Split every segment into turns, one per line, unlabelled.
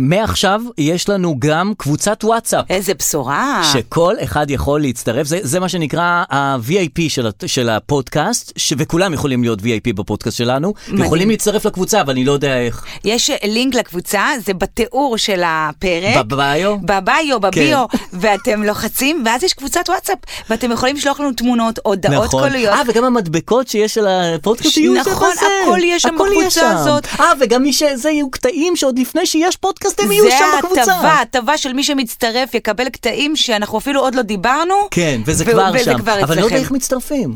מעכשיו יש לנו גם קבוצת וואטסאפ.
איזה בשורה.
שכל אחד יכול להצטרף, זה, זה מה שנקרא ה-VIP של, ה- של הפודקאסט, ש, וכולם יכולים להיות VIP בפודקאסט שלנו,
מדהים.
יכולים להצטרף לקבוצה, אבל אני לא יודע איך.
יש אה, לינק לקבוצה, זה בתיאור של הפרק.
בביו?
בביו, בביו,
כן.
ואתם לוחצים, ואז יש קבוצת וואטסאפ, ואתם יכולים לשלוח לנו תמונות, הודעות קוליות.
אה, וגם המדבקות שיש של הפודקאסט
ש-
יהיו זה
נכון,
בזה.
הכל יהיה שם
הכל יהיה
בקבוצה
שם.
הזאת.
אה, וגם מי שזה יהיו קטעים שעוד לפני שיש פודקאסט הם יהיו שם בקבוצה.
זה ההטבה, הטבה של מי שמצטרף יקבל קטעים שאנחנו אפילו עוד לא דיברנו.
כן, וזה
והוא-
כבר
וזה
שם.
כבר
אבל אני לא יודע
אצלכם.
איך מצטרפים.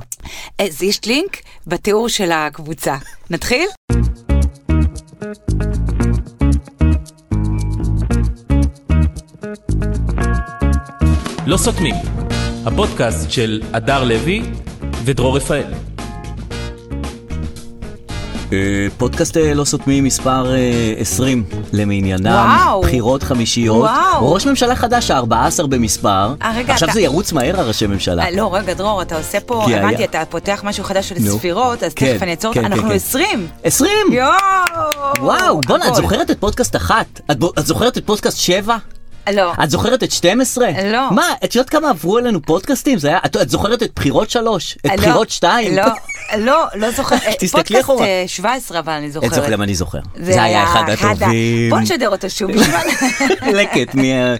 אז יש לינק בתיאור של הקבוצה. נתחיל?
לא סותמים, הפודקאסט של הדר לוי ודרור רפאל.
אה, פודקאסט אה, לא סותמים מספר אה, 20 למניינם,
וואו.
בחירות חמישיות,
וואו.
ראש ממשלה חדש, ה-14 במספר,
אה, רגע,
עכשיו
אתה-
זה ירוץ מהר הראשי ממשלה.
אה, לא, רגע, דרור, אתה עושה פה,
כי היה-
הבנתי, אתה פותח משהו חדש של
נו.
ספירות, אז
כן,
תכף אני אעצור,
כן, כן,
אנחנו
כן.
20.
20!
יואו!
וואו, בואנה, את
הכל.
זוכרת את פודקאסט אחת? את בו- את זוכרת את פודקאסט 7?
לא.
את זוכרת את 12?
לא.
מה, את יודעת כמה עברו אלינו פודקאסטים? זה היה, את, את זוכרת את בחירות 3? את
לא,
בחירות 2?
לא, לא, לא זוכרת. אה,
תסתכלי
פודקאסט,
אחורה.
אה, 17, אבל אני
את
זוכרת.
זוכרת, למה אני זוכר. זה היה אחד הטובים.
בוא נשדר אותו שוב. בשביל-
לקט, מה-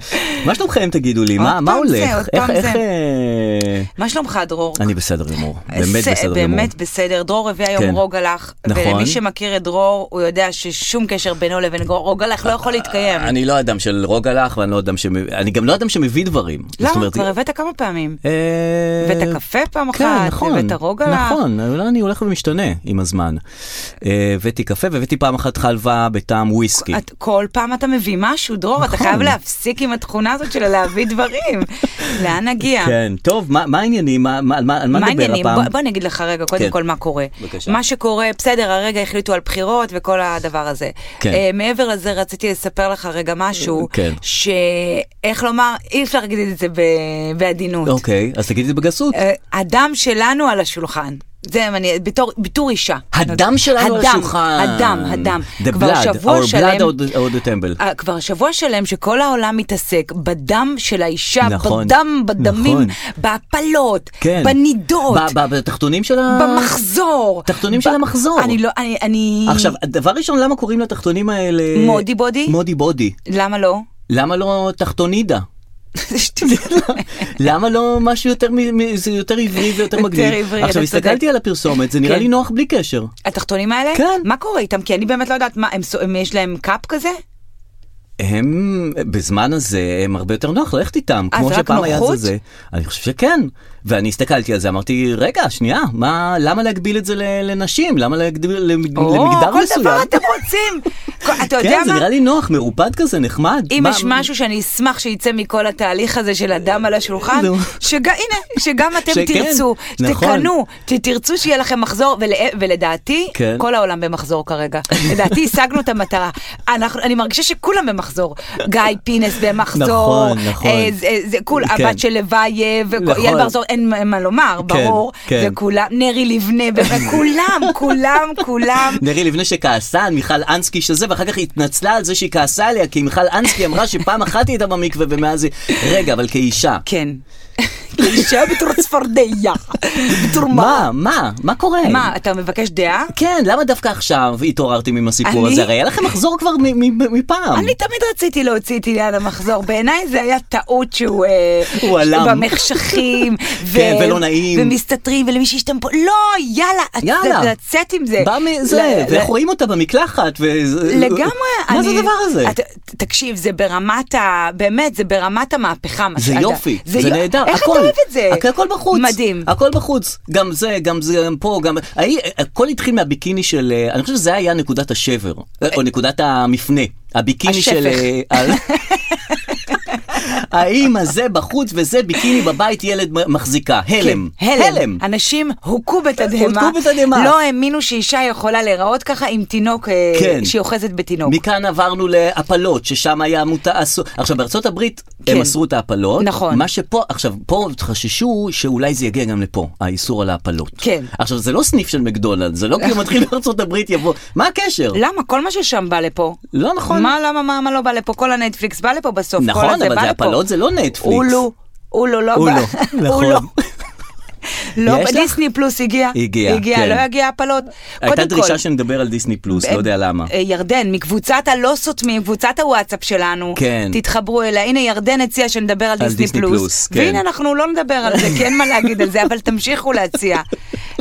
מה שלומכם תגידו לי? מה
עוד
מה
פעם זה,
הולך?
עוד
איך-
פעם
איך...
זה.
אה,
מה שלומך, דרור?
אני בסדר גמור, באמת
זה-
בסדר גמור.
באמת בסדר, דרור הביא היום
כן.
רוג הלך,
נכון.
ולמי שמכיר את דרור, הוא יודע ששום קשר בינו לבין רוג הלך לא יכול להתקיים.
אני לא אדם של רוג הלך, ואני לא אדם ש... אני גם לא אדם שמביא דברים.
למה?
זאת אומרת,
לא, כבר הבאת כמה פעמים.
אה,
הבאת קפה פעם
כן,
אחת,
נכון,
הבאת רוג הלך.
נכון, אולי אני הולך ומשתנה עם הזמן. אה, הבאתי קפה והבאתי פעם אחת חלבה בטעם וויסקי.
את, כל פעם אתה מביא משהו, דרור, אתה
כן. נכון.
חייב להפסיק עם התכונה הזאת של להביא דברים. לאן נגיע?
כן, טוב, מה מה העניינים? מה- מה- על מה על מה
מה
נדבר
העניינים?
הפעם?
בוא, בוא אני אגיד לך רגע, קודם
כן.
כל מה קורה.
בבקשה.
מה שקורה, בסדר, הרגע החליטו על בחירות וכל הדבר הזה.
כן.
אה, מעבר לזה רציתי לספר לך רגע משהו,
כן.
שאיך לומר, אי אפשר להגיד את זה ב... בעדינות.
אוקיי, אז תגידי את זה בגסות.
אה, הדם שלנו על השולחן. זה אם אני, בתור, בתור אישה.
הדם שלנו על
הדם,
השולחן.
הדם, הדם.
The
כבר
blood,
שבוע
our
שלם-
blood or the- or the temple.
אה, כבר שבוע שלם שכל העולם מתעסק בדם של האישה,
נכון,
בדם, בדמים,
נכון.
בהפלות,
כן.
בנידות,
ב- ב- בתחתונים של ה...
במחזור.
תחתונים
ב-
של המחזור.
אני לא, אני, אני...
עכשיו, דבר ראשון, למה קוראים לתחתונים האלה...
מודי בודי?
מודי בודי.
למה לא?
למה לא תחתונידה?
זה שטויות.
למה לא משהו יותר, מ- מ- זה יותר עברי ויותר
יותר
מגניב?
עברי,
עכשיו,
אתה
הסתכלתי
צודק.
על הפרסומת, זה נראה
כן.
לי נוח בלי קשר.
התחתונים האלה?
כן.
מה קורה איתם? כי אני באמת לא יודעת מה, הם, סו- הם- יש להם קאפ כזה?
הם, בזמן הזה, הם הרבה יותר נוח ללכת איתם,
אה,
כמו
זה רק
שפעם היה זה
נוחות?
זה. אני חושב שכן. ואני הסתכלתי על זה, אמרתי, רגע, שנייה, מה, למה להגביל את זה ל- לנשים? למה להגביל למג- למגדר
כל
מסוים?
דבר אתם רוצים. כל- אתה יודע
כן, זה
מה?
נראה לי נוח, מרופד כזה, נחמד.
אם
מה-
יש משהו שאני אשמח שיצא מכל התהליך הזה של הדם על השולחן,
נו.
שגם, הנה, שגם אתם
שכן,
תרצו,
נכון.
תקנו, תרצו שיהיה לכם מחזור, ול, ולדעתי,
כן.
כל העולם במחזור כרגע. לדעתי השגנו את המטרה. אנחנו, אני מרגישה שכולם במחזור. גיא פינס במחזור,
נכון, נכון.
אה, זה, זה, כול,
כן.
הבת של לוייב,
נכון.
יעל בר זור, אין מה- מה לומר,
כן,
ברור,
כן.
וכולם, נרי לבנה, וכולם, כולם, כולם.
נרי לבנה שכעסה על מיכל אנסקי שזה, ואחר כך התנצלה על זה שהיא כעסה עליה, כי מיכל אנסקי אמרה שפעם אחת היא הייתה במקווה ומאז היא... רגע, אבל כאישה.
כן. אישה בתור צפרדע, בתור מה?
מה? מה? מה קורה?
מה, אתה מבקש דעה?
כן, למה דווקא עכשיו התעוררתם עם הסיפור
אני?
הזה? הרי היה לכם מחזור כבר מ- מ- מפעם.
אני תמיד רציתי להוציא את עניין המחזור, בעיניי זה היה טעות שהוא אה,
הוא הלם.
במחשכים, ו-
כן, ולא נעים.
ומסתתרים, ולמי שיש פה, לא, יאללה, את-
יאללה.
לצאת עם זה.
בא מזה,
ל-
ואיך
ל-
רואים אותה במקלחת, וזה...
לגמרי,
מה
אני-
זה הדבר הזה?
את- ת- תקשיב, זה ברמת ה... באמת, זה ברמת המהפכה. מה
זה
שאתה-
יופי, זה
יו-
נהדר,
איך אתה
הכל,
אוהב את זה?
הכ- הכל בחוץ,
מדהים.
הכל בחוץ, גם זה, גם זה, גם פה, גם, ההיא- הכל התחיל מהביקיני של, אה, אני חושב שזה היה נקודת השבר, אה, או נקודת המפנה, הביקיני
השפך.
של, אה, ה- האם הזה בחוץ וזה ביקיני בבית ילד מ- מחזיקה. הלם.
כן, הלם. אנשים הוכו בתדהמה.
הוכו בתדהמה.
לא האמינו שאישה יכולה להיראות ככה עם תינוק, אה,
כן.
שהיא אוחזת בתינוק.
מכאן עברנו להפלות, ששם היה מותר... אסור- עכשיו, בארצות הברית
כן.
הם אסרו את ההפלות.
נכון.
מה שפה, עכשיו, פה חששו שאולי זה יגיע גם לפה, האיסור על ההפלות.
כן.
עכשיו, זה לא סניף של מקדונלד, זה לא כי הוא מתחיל בארצות הברית יבוא. מה הקשר?
למה? כל מה ששם בא לפה.
לא נכון.
לא. מה, למה, מה, מה לא בא לפה? כל הנטפליקס בא לפה בסוף. כל
נכון,
הזה
אבל
בא
זה
לפה.
הפלות זה לא נטפליקס.
אולו. אולו לא
אולו,
בא.
נכון.
לא,
יש לך?
בדיסני פלוס הגיע.
הגיע,
הגיע,
כן.
לא הגיע הפלות.
הייתה
קודם כל,
דרישה שנדבר על דיסני פלוס, לא יודע למה.
אה, ירדן, מקבוצת הלא סותמים, קבוצת הוואטסאפ שלנו.
כן.
תתחברו אליה. הנה ירדן הציעה שנדבר על דיסני
דיסני
פלוס.
פלוס, כן.
והנה אנחנו לא נדבר על זה, כי אין מה להגיד על זה, אבל תמשיכו להציע.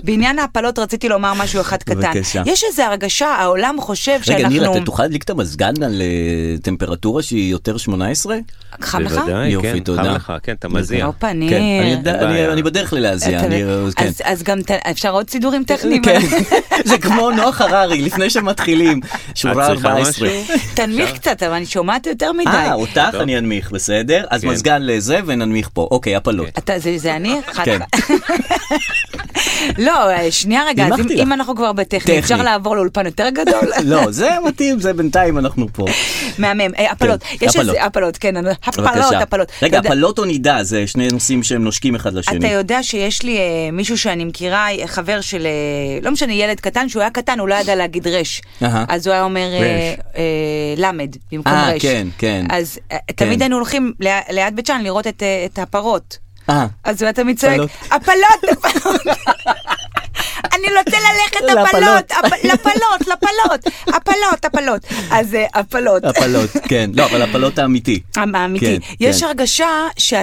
בעניין ההפלות רציתי לומר משהו אחד קטן.
בבקשה.
יש איזו הרגשה, העולם חושב שאנחנו...
רגע, נירה, אתה תוכל להדליק את המזגן על אה, טמפרטורה שהיא יותר 18?
חם לך?
בוודאי,
יופי,
כן,
תודה.
חם לך, כן, אתה מזיע.
לא פנים.
כן, אני יודע-
אין בעיה.
אני- אני בדרך ללהזיע,
אתה-
אני... כן.
אז- אז גם ת- אפשר עוד סידורים טכניים?
כן, זה כמו נוח הררי, לפני שמתחילים, שורה
את צריכה
14.
משהו?
תנמיך קצת, אבל אני שומעת יותר מדי.
אה, אותך אני אנמיך, בסדר? אז
כן.
מזגן לזה וננמיך פה. אוקיי, הפלות.
אתה, זה, זה אני? אחת-
כן.
לא, שנייה רגע, אז אם,
נימקתי לך.
אם אנחנו כבר בטכני,
טכני.
אפשר לעבור לאולפן יותר גדול?
אוקיי.
לא, זה מתאים, זה בינתיים אנחנו פה.
מהמם, אה, הפלות.
כן,
יש
הפלות.
איזה, הפלות, כן, אני- הפלות,
בבקשה.
הפלות. אתה
רגע,
יודע-
הפלות או נידה, זה שני נושאים שהם נושקים אחד
אתה
לשני.
יודע שיש לי אה, מישהו שאני מכירה, אה, חבר של, אה, לא משנה, ילד קטן, שהוא היה קטן, הוא לא ידע להגיד רש.
אהה.
אז הוא היה אומר אה,
רש.
אה, למד, במקום
אה,
רש.
כן, כן.
אז אה, תמיד
כן.
היינו הולכים ל- ליד בית שאן לראות את, אה, את הפרות.
אה.
אז הוא היה תמיד צועק,
הפלות.
הפלות, הפלות. אני רוצה ללכת הפלות,
להפלות.
הפ- לפלות, לפלות, הפלות, הפלות. אז אה, הפלות.
הפלות, כן. לא, אבל הפלות האמיתי.
האמיתי.
כן,
אמ, יש
כן.
הרגשה ש-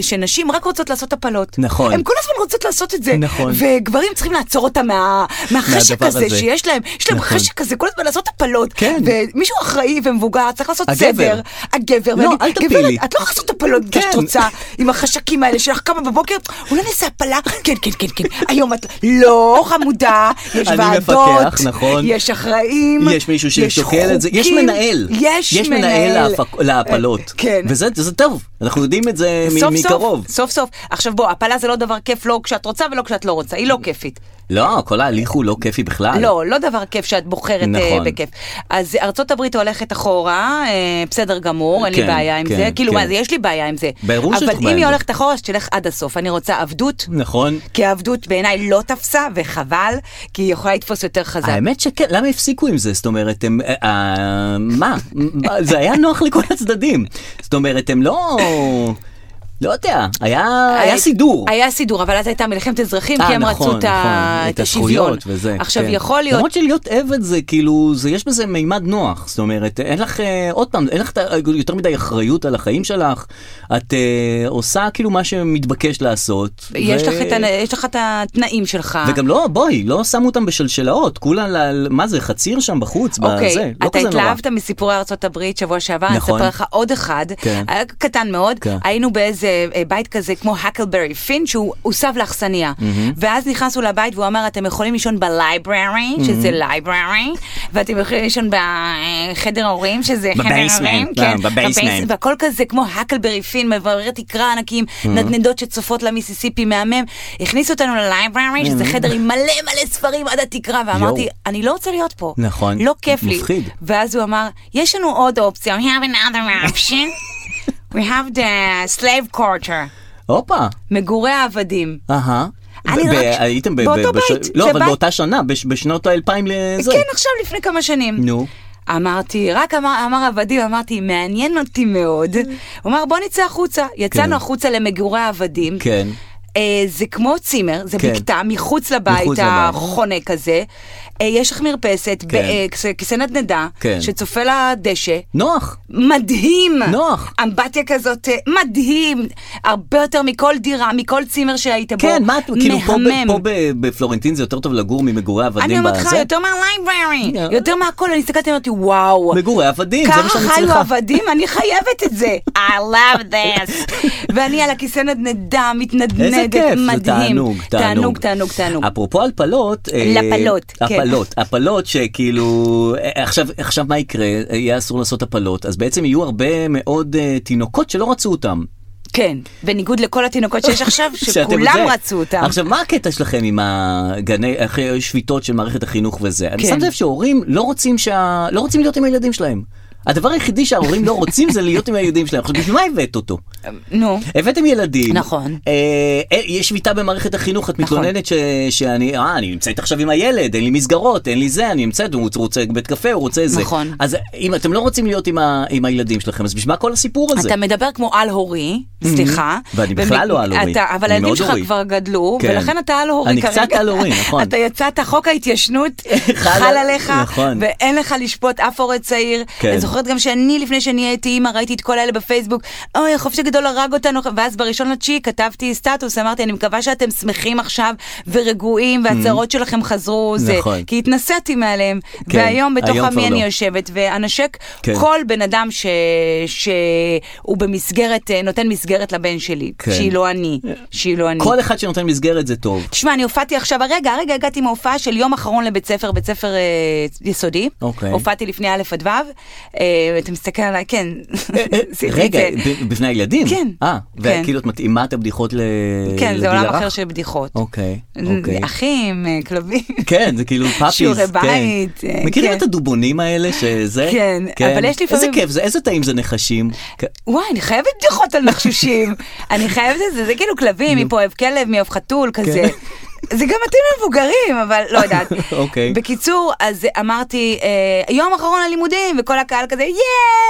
שנשים רק רוצות לעשות הפלות.
נכון.
הן כל הזמן רוצות לעשות את זה.
נכון.
וגברים צריכים לעצור אותם מה- מהחשק
מהדבר
הזה
הזה.
שיש להם. יש להם
נכון.
חשק כזה כל הזמן לעשות הפלות.
כן.
ומישהו אחראי ומבוגר צריך לעשות
הגבר.
סדר. הגבר.
לא,
ולהגיד,
אל תפילי.
גברת, את לא יכולה לעשות הפלות בגלל שאת
כן.
רוצה, עם החשקים האלה שלך קמה בבוקר, אולי נעשה הפלה? כן, כן, כן, כן. היום את... לא, חמודה, יש
אני
ועדות.
מפקח, נכון.
יש אחראים.
יש מישהו ששוקל
חוקים,
את זה, יש מנהל,
יש מנהל.
להפק- להפלות,
אה, כן.
וזה זה טוב, אנחנו יודעים את זה מ-
סוף
מקרוב.
סוף, סוף סוף. עכשיו בוא, הפלה זה לא דבר כיף לא כשאת רוצה ולא כשאת לא רוצה, היא
אה,
לא כיפית.
לא, כל ההליך הוא לא כיפי בכלל.
לא, לא דבר כיף שאת בוחרת נכון.
נכון.
בכיף. אז ארצות הברית הולכת אחורה, אה, בסדר גמור, אין לי
כן,
בעיה עם
כן,
זה. כאילו,
כן.
מה זה, יש לי בעיה עם זה.
ברור שיש לך
אבל
בעיה
אם
עם
היא
זה.
הולכת אחורה, אז תלך עד הסוף. אני רוצה עבדות.
נכון.
כי העבדות בעיניי לא תפסה, וחבל, כי היא יכולה לתפוס יותר חזק.
האמת שכן, למה הפסיקו עם זה? זאת אומרת, הם... אה, אה, מה? מה, זה היה נוח לכל הצדדים. זאת אומרת, הם לא... לא יודע, היה היה סידור.
אה, היה סידור, אבל אז הייתה מלחמת אזרחים,
אה,
כי הם
נכון,
רצו את ה-
נכון,
את השוויון.
הזכויות וזה.
עכשיו,
כן.
יכול להיות...
למרות שלהיות עבד זה כאילו, זה, יש בזה מימד נוח. זאת אומרת, אין לך, אה, עוד פעם, אין לך את ה- יותר מדי אחריות על החיים שלך. את אה, עושה כאילו מה שמתבקש לעשות.
יש
ו-
לך את ה- יש לך את התנאים שלך.
וגם לא, בואי, לא שמו אותם בשלשלאות, כולם, ל- מה זה, חציר שם בחוץ, בזה, לא
אוקיי, אתה
כזה נורא.
התלהבת מסיפורי ארצות הברית שבוע שעבר, אני
נכון.
אספר לך עוד אחד,
כן.
היה קטן מאוד,
כן.
היינו באיזה אה, בית כזה כמו הקלברי פין, שהוא הוסב לאכסניה, ואז נכנסנו לבית והוא אמר, אתם יכולים לישון בלייבררי, שזה לייבררי, ואתם יכולים לישון בחדר ההורים, שזה חדר
בבייסמנט,
ההורים,
לא,
כן,
בבייסמנט.
בבייס- והכל כזה כמו הקלברי פין, מבררי תקרה ענקים, נדנדות שצופות למיסיסיפי מהמם, הכניסו אותנו ללייבררי, שזה חדר עם מלא מלא ספרים עד התקרה, ואמרתי,
יואו.
אני לא רוצה להיות פה.
נכון.
לא כיף לי.
מפחיד.
ואז הוא אמר, יש לנו עוד אופציה, we have another option. we have the slave quarter,
הופה,
מגורי העבדים.
אהה.
אני
ב-
רק-
ב- הייתם ב-
באותו
ב- בש-
בית,
לא,
זה
אבל
בית.
באותה שנה, בש- בשנות האלפיים לזה.
כן, עכשיו לפני כמה שנים.
נו.
אמרתי, רק אמר, אמר עבדים, אמרתי, מעניין אותי מאוד. הוא אמר, בוא נצא החוצה. יצאנו
כן.
החוצה למגורי העבדים.
כן.
אה, זה כמו צימר, זה
כן.
בקתה מחוץ לבית
מחוץ לבית.
החונק הזה. אה, יש לך מרפסת, ב-
כן.
אה, כס- כיסא נדנדה,
כן.
שצופה לדשא.
נוח.
מדהים.
נוח.
אמבטיה כזאת, אה, מדהים. הרבה יותר מכל דירה, מכל צימר שהיית בו.
כן, מה את, כאילו פה ב-
מהמם.
פה ב- בפלורנטין זה יותר טוב לגור ממגורי עבדים
אני אומרת לך,
בזה?
יותר מהלייבררי,
Yeah.
יותר מהכל, אני הסתכלתי, אמרתי, וואו.
מגורי עבדים, זה
ככה
מה שאני
חיו
צריכה.
עבדים, אני חייבת את זה. I love this. ואני על הכיסא נדנדה, מתנדנדת.
איזה איזה
ללדת,
כיף, זה
מדהים.
תענוג,
תענוג, תענוג, תענוג.
אפרופו הפלות, אה,
לפלות, כן.
הפלות, הפלות שכאילו, אה, עכשיו, עכשיו מה יקרה, אה, יהיה אסור לעשות הפלות, אז בעצם יהיו הרבה מאוד אה, תינוקות שלא רצו אותם.
כן, בניגוד לכל התינוקות שיש עכשיו,
שאתם
שכולם
זה.
רצו אותם.
עכשיו, מה הקטע שלכם עם הגני, אחרי השביתות של מערכת החינוך וזה? אני
כן.
שם לב שהורים לא רוצים, שה... לא רוצים להיות עם הילדים שלהם. הדבר היחידי שההורים לא רוצים זה להיות עם הילדים שלהם. עכשיו, בשביל מה הבאת אותו?
נו.
הבאתם ילדים.
נכון.
אה, אה, יש שביתה במערכת החינוך, את
נכון.
מתלוננת ש, שאני, אה, אני נמצאת עכשיו עם הילד, אין לי מסגרות, אין לי זה, אני נמצאת, הוא רוצה בית קפה, הוא רוצה זה.
נכון.
אז אם אתם לא רוצים להיות עם, ה, עם הילדים שלכם, אז בשביל מה כל הסיפור הזה?
אתה מדבר כמו על-הורי, סליחה.
Mm-hmm. ואני בכלל לא על-הורי,
אתה- אבל
אני
הילדים
מאוד
שלך
הורי.
כבר גדלו,
כן.
ולכן אתה על-הורי
אני
כרגע.
קצת על-הורי, נכון.
אתה יצאת, חוק ההתיישנות
חל-
חל עליך,
נכון.
ואין לך לשפוט אף הורה צעיר.
כן.
אני זוכרת גם שאני, לפני שאני הייתי אימא, ראיתי את כל האלה בפייסבוק, אוי, החופש הגדול הרג אותנו, ואז בראשון לתשיעי כתבתי סטטוס, אמרתי, אני מקווה שאתם שמחים עכשיו ורגועים, והצרות שלכם חזרו, זה,
Mm-hmm. נכון.
כי התנסיתי מעליהם.
כן,
והיום בתוך
היום כבר
עמי
לא.
אני יושבת, ואנשק
כן.
כל בן אדם ש... שהוא במסגרת, אה, נותן מסגרת לבן שלי,
כן.
כן. שהיא לא אני, שהיא לא אני.
כל אחד שנותן מסגרת זה טוב.
תשמע, אני הופעתי עכשיו, הרגע, הרגע הגעתי מההופעה של יום אחרון לבית ספר, בית ספר אה, יסודי.
אוקיי.
הופעתי לפני א' עד ו', אה, אתה מסתכל עליי, כן. עשיתי את
אה, רגע,
זה.
ב- בפני הילדים?
כן.
אה,
כן.
וכאילו את מתאימה את הבדיחות ל- לגיל הרך?
כן, זה עולם אחר של בדיחות.
אוקיי, אוקיי.
אחים, אה, כלבים.
כן, זה כאילו פאפיז,
שיעורי
כן.
בית, אה,
מכירים
כן.
את הדובונים האלה שזה?
כן, אבל יש לפעמים-
איזה כיף זה, איזה טעים זה נחשים. כ-
וואי, אני חייבת בדיחות על נחשושים. אני חייבת את זה, זה כאילו כלבים, מי פה אוהב כלב, מי אוהב חתול,
כן.
כזה. זה גם מתאים למבוגרים, אבל לא יודעת.
אוקיי.
בקיצור, אז אמרתי, אה, יום אחרון ללימודים, וכל הקהל כזה, יאה!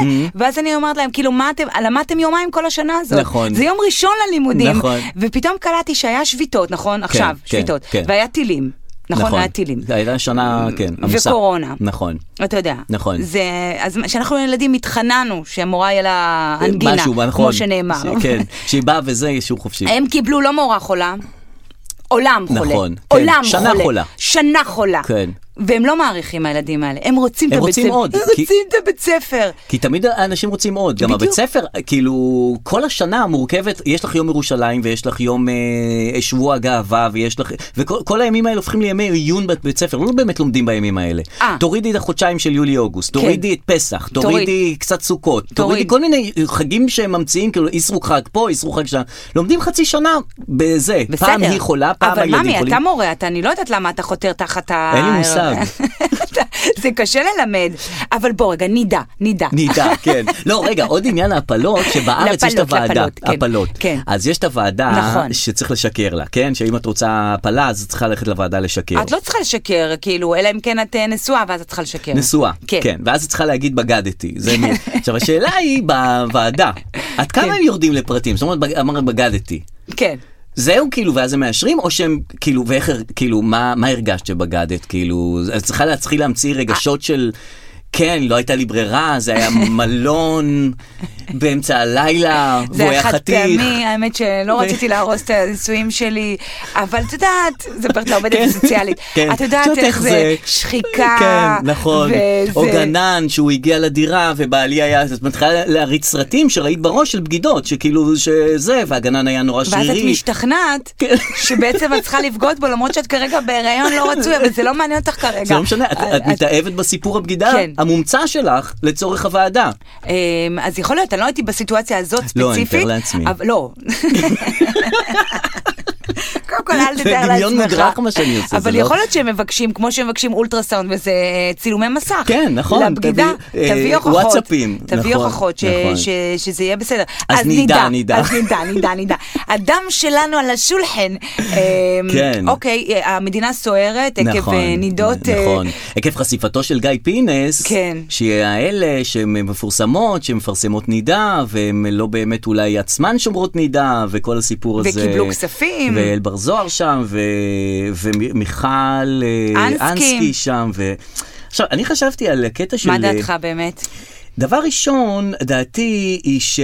Mm-hmm.
ואז אני אומרת להם, כאילו, מה אתם, למדתם יומיים כל השנה הזאת.
נכון.
זה יום ראשון ללימודים.
נכון.
ופתאום קלטתי שהיה שביתות, נכון? עכשיו,
כן,
שביתות.
כן.
והיה טילים. נכון, היה טילים.
הייתה שנה, כן, עמוסה.
וקורונה.
נכון.
אתה יודע.
נכון.
זה, אז כשאנחנו ילדים התחננו שהמורה יהיה לה אנגינה,
משהו, נכון.
כמו שנאמר.
ש- כן, שהיא באה וזה, שהוא חופשי.
הם קיבלו לא מורה חולה, עולם חולה.
נכון, כן,
עולם
שנה
חולה.
חולה.
שנה חולה.
כן.
והם לא מעריכים הילדים האלה, הם רוצים את
הם
הבית
רוצים
ספר.
עוד,
הם
כי-
רוצים את הבית ספר.
כי תמיד האנשים רוצים עוד, גם
בדיוק.
הבית ספר, כאילו, כל השנה מורכבת, יש לך יום ירושלים ויש לך יום אה, שבוע הגאווה ויש לך, וכל כל הימים האלה הופכים לימי עיון בית- בית ספר, לא באמת לומדים בימים האלה.
אה. כן.
תורידי את החודשיים של יולי-אוגוסט, תורידי את פסח,
תוריד.
תורידי קצת סוכות, תורידי
תוריד.
כל מיני חגים שהם ממציאים, כאילו איסרו חג פה, איסרו חג שם, לומדים חצי שנה בזה,
בסדר.
פעם היא חולה, פעם
אבל
הילדים
ממי,
חולים.
אתה מורה, אתה, אני לא יודעת למה אתה חותר תחת ה...
אין לי מושג.
אתה- זה קשה ללמד, אבל בוא רגע, נידע, נידע.
נהייתה, כן. לא, רגע, עוד עניין ההפלות, שבארץ יש את
לפלות,
הוועדה.
לפלות, כן. כן.
אז יש את הוועדה
נכון.
שצריך לשקר לה, כן? שאם את רוצה הפלה, אז את צריכה ללכת לוועדה לשקר.
את לא צריכה לשקר, כאילו, אלא אם כן את אה, נשואה, ואז את צריכה לשקר.
נשואה,
כן.
כן, ואז את צריכה להגיד בגדתי, זה מי. עכשיו השאלה היא בוועדה, עד כמה
כן.
הם יורדים לפרטים? זאת אומרת, בג- אמרת בגדתי.
כן.
זהו כאילו, ואז הם מאשרים, או שהם כאילו, ואיך, הר- כאילו, מה מה הרגשת שבגדת? כאילו, את צריכה להתחיל להמציא רגשות של, כן, לא הייתה לי ברירה, זה היה מלון באמצע הלילה,
זה
והוא
היה
היה
חד
חתיך.
פעמי, האמת שלא
ו-
רציתי להרוס את הנישואים שלי, אבל את יודעת, מספרת לעובדת
כן.
הסוציאלית,
כן.
את יודעת איך זה שחיקה,
כן, נכון.
וזה-
או גנן שהוא הגיע לדירה ובעלי היה, את מתחילה להריץ סרטים שראית בראש של בגידות, שכאילו שזה, והגנן היה נורא
ואז את
שרירי.
משתכנעת
כן.
שבעצם את צריכה לבגוד בו למרות שאת כרגע בהיריון לא רצוי, אבל זה לא מעניין אותך כרגע.
זה לא משנה, את- את מתאהבת בסיפור הבגידה
אה, כן.
המומצא שלך לצורך הוועדה.
אמ, אז יכול להיות, אני לא הייתי בסיטואציה הזאת ספציפית.
לא, אני מתאר לעצמי.
אבל- לא. קודם כל, אל
זה
תתאר לעצמך.
דמיון מודרך מה שאני עושה, זה
אבל
לא-
יכול להיות שהם מבקשים, כמו שהם מבקשים אולטרסאונד וזה אה, צילומי מסך.
כן, נכון,
לבגידה,
תביא, אה,
תביא הוכחות.
וואטסאפים,
תביא
נכון,
הוכחות ש-
נכון.
ש- שזה יהיה בסדר.
אז נדע, נדע.
אז נדע, נדע, נדע. הדם שלנו על השולחן. אמ,
כן.
אוקיי, אה, המדינה סוערת עקב
נכון,
אה, נידות. אה,
נכון. עקב חשיפתו של גיא פינס,
כן.
שהאלה שהן מפורסמות, שהן מפרסמות נידה, והן לא באמת אולי עצמן שומרות נידה, וכל הסיפור הזה.
וקיבלו כספים.
ואל בר זוהר שם, ו... ומיכל אה,
אנסקי.
אנסקי שם. ו... עכשיו, אני חשבתי על הקטע של... אה,
מה דעתך באמת?
דבר ראשון, דעתי היא ש...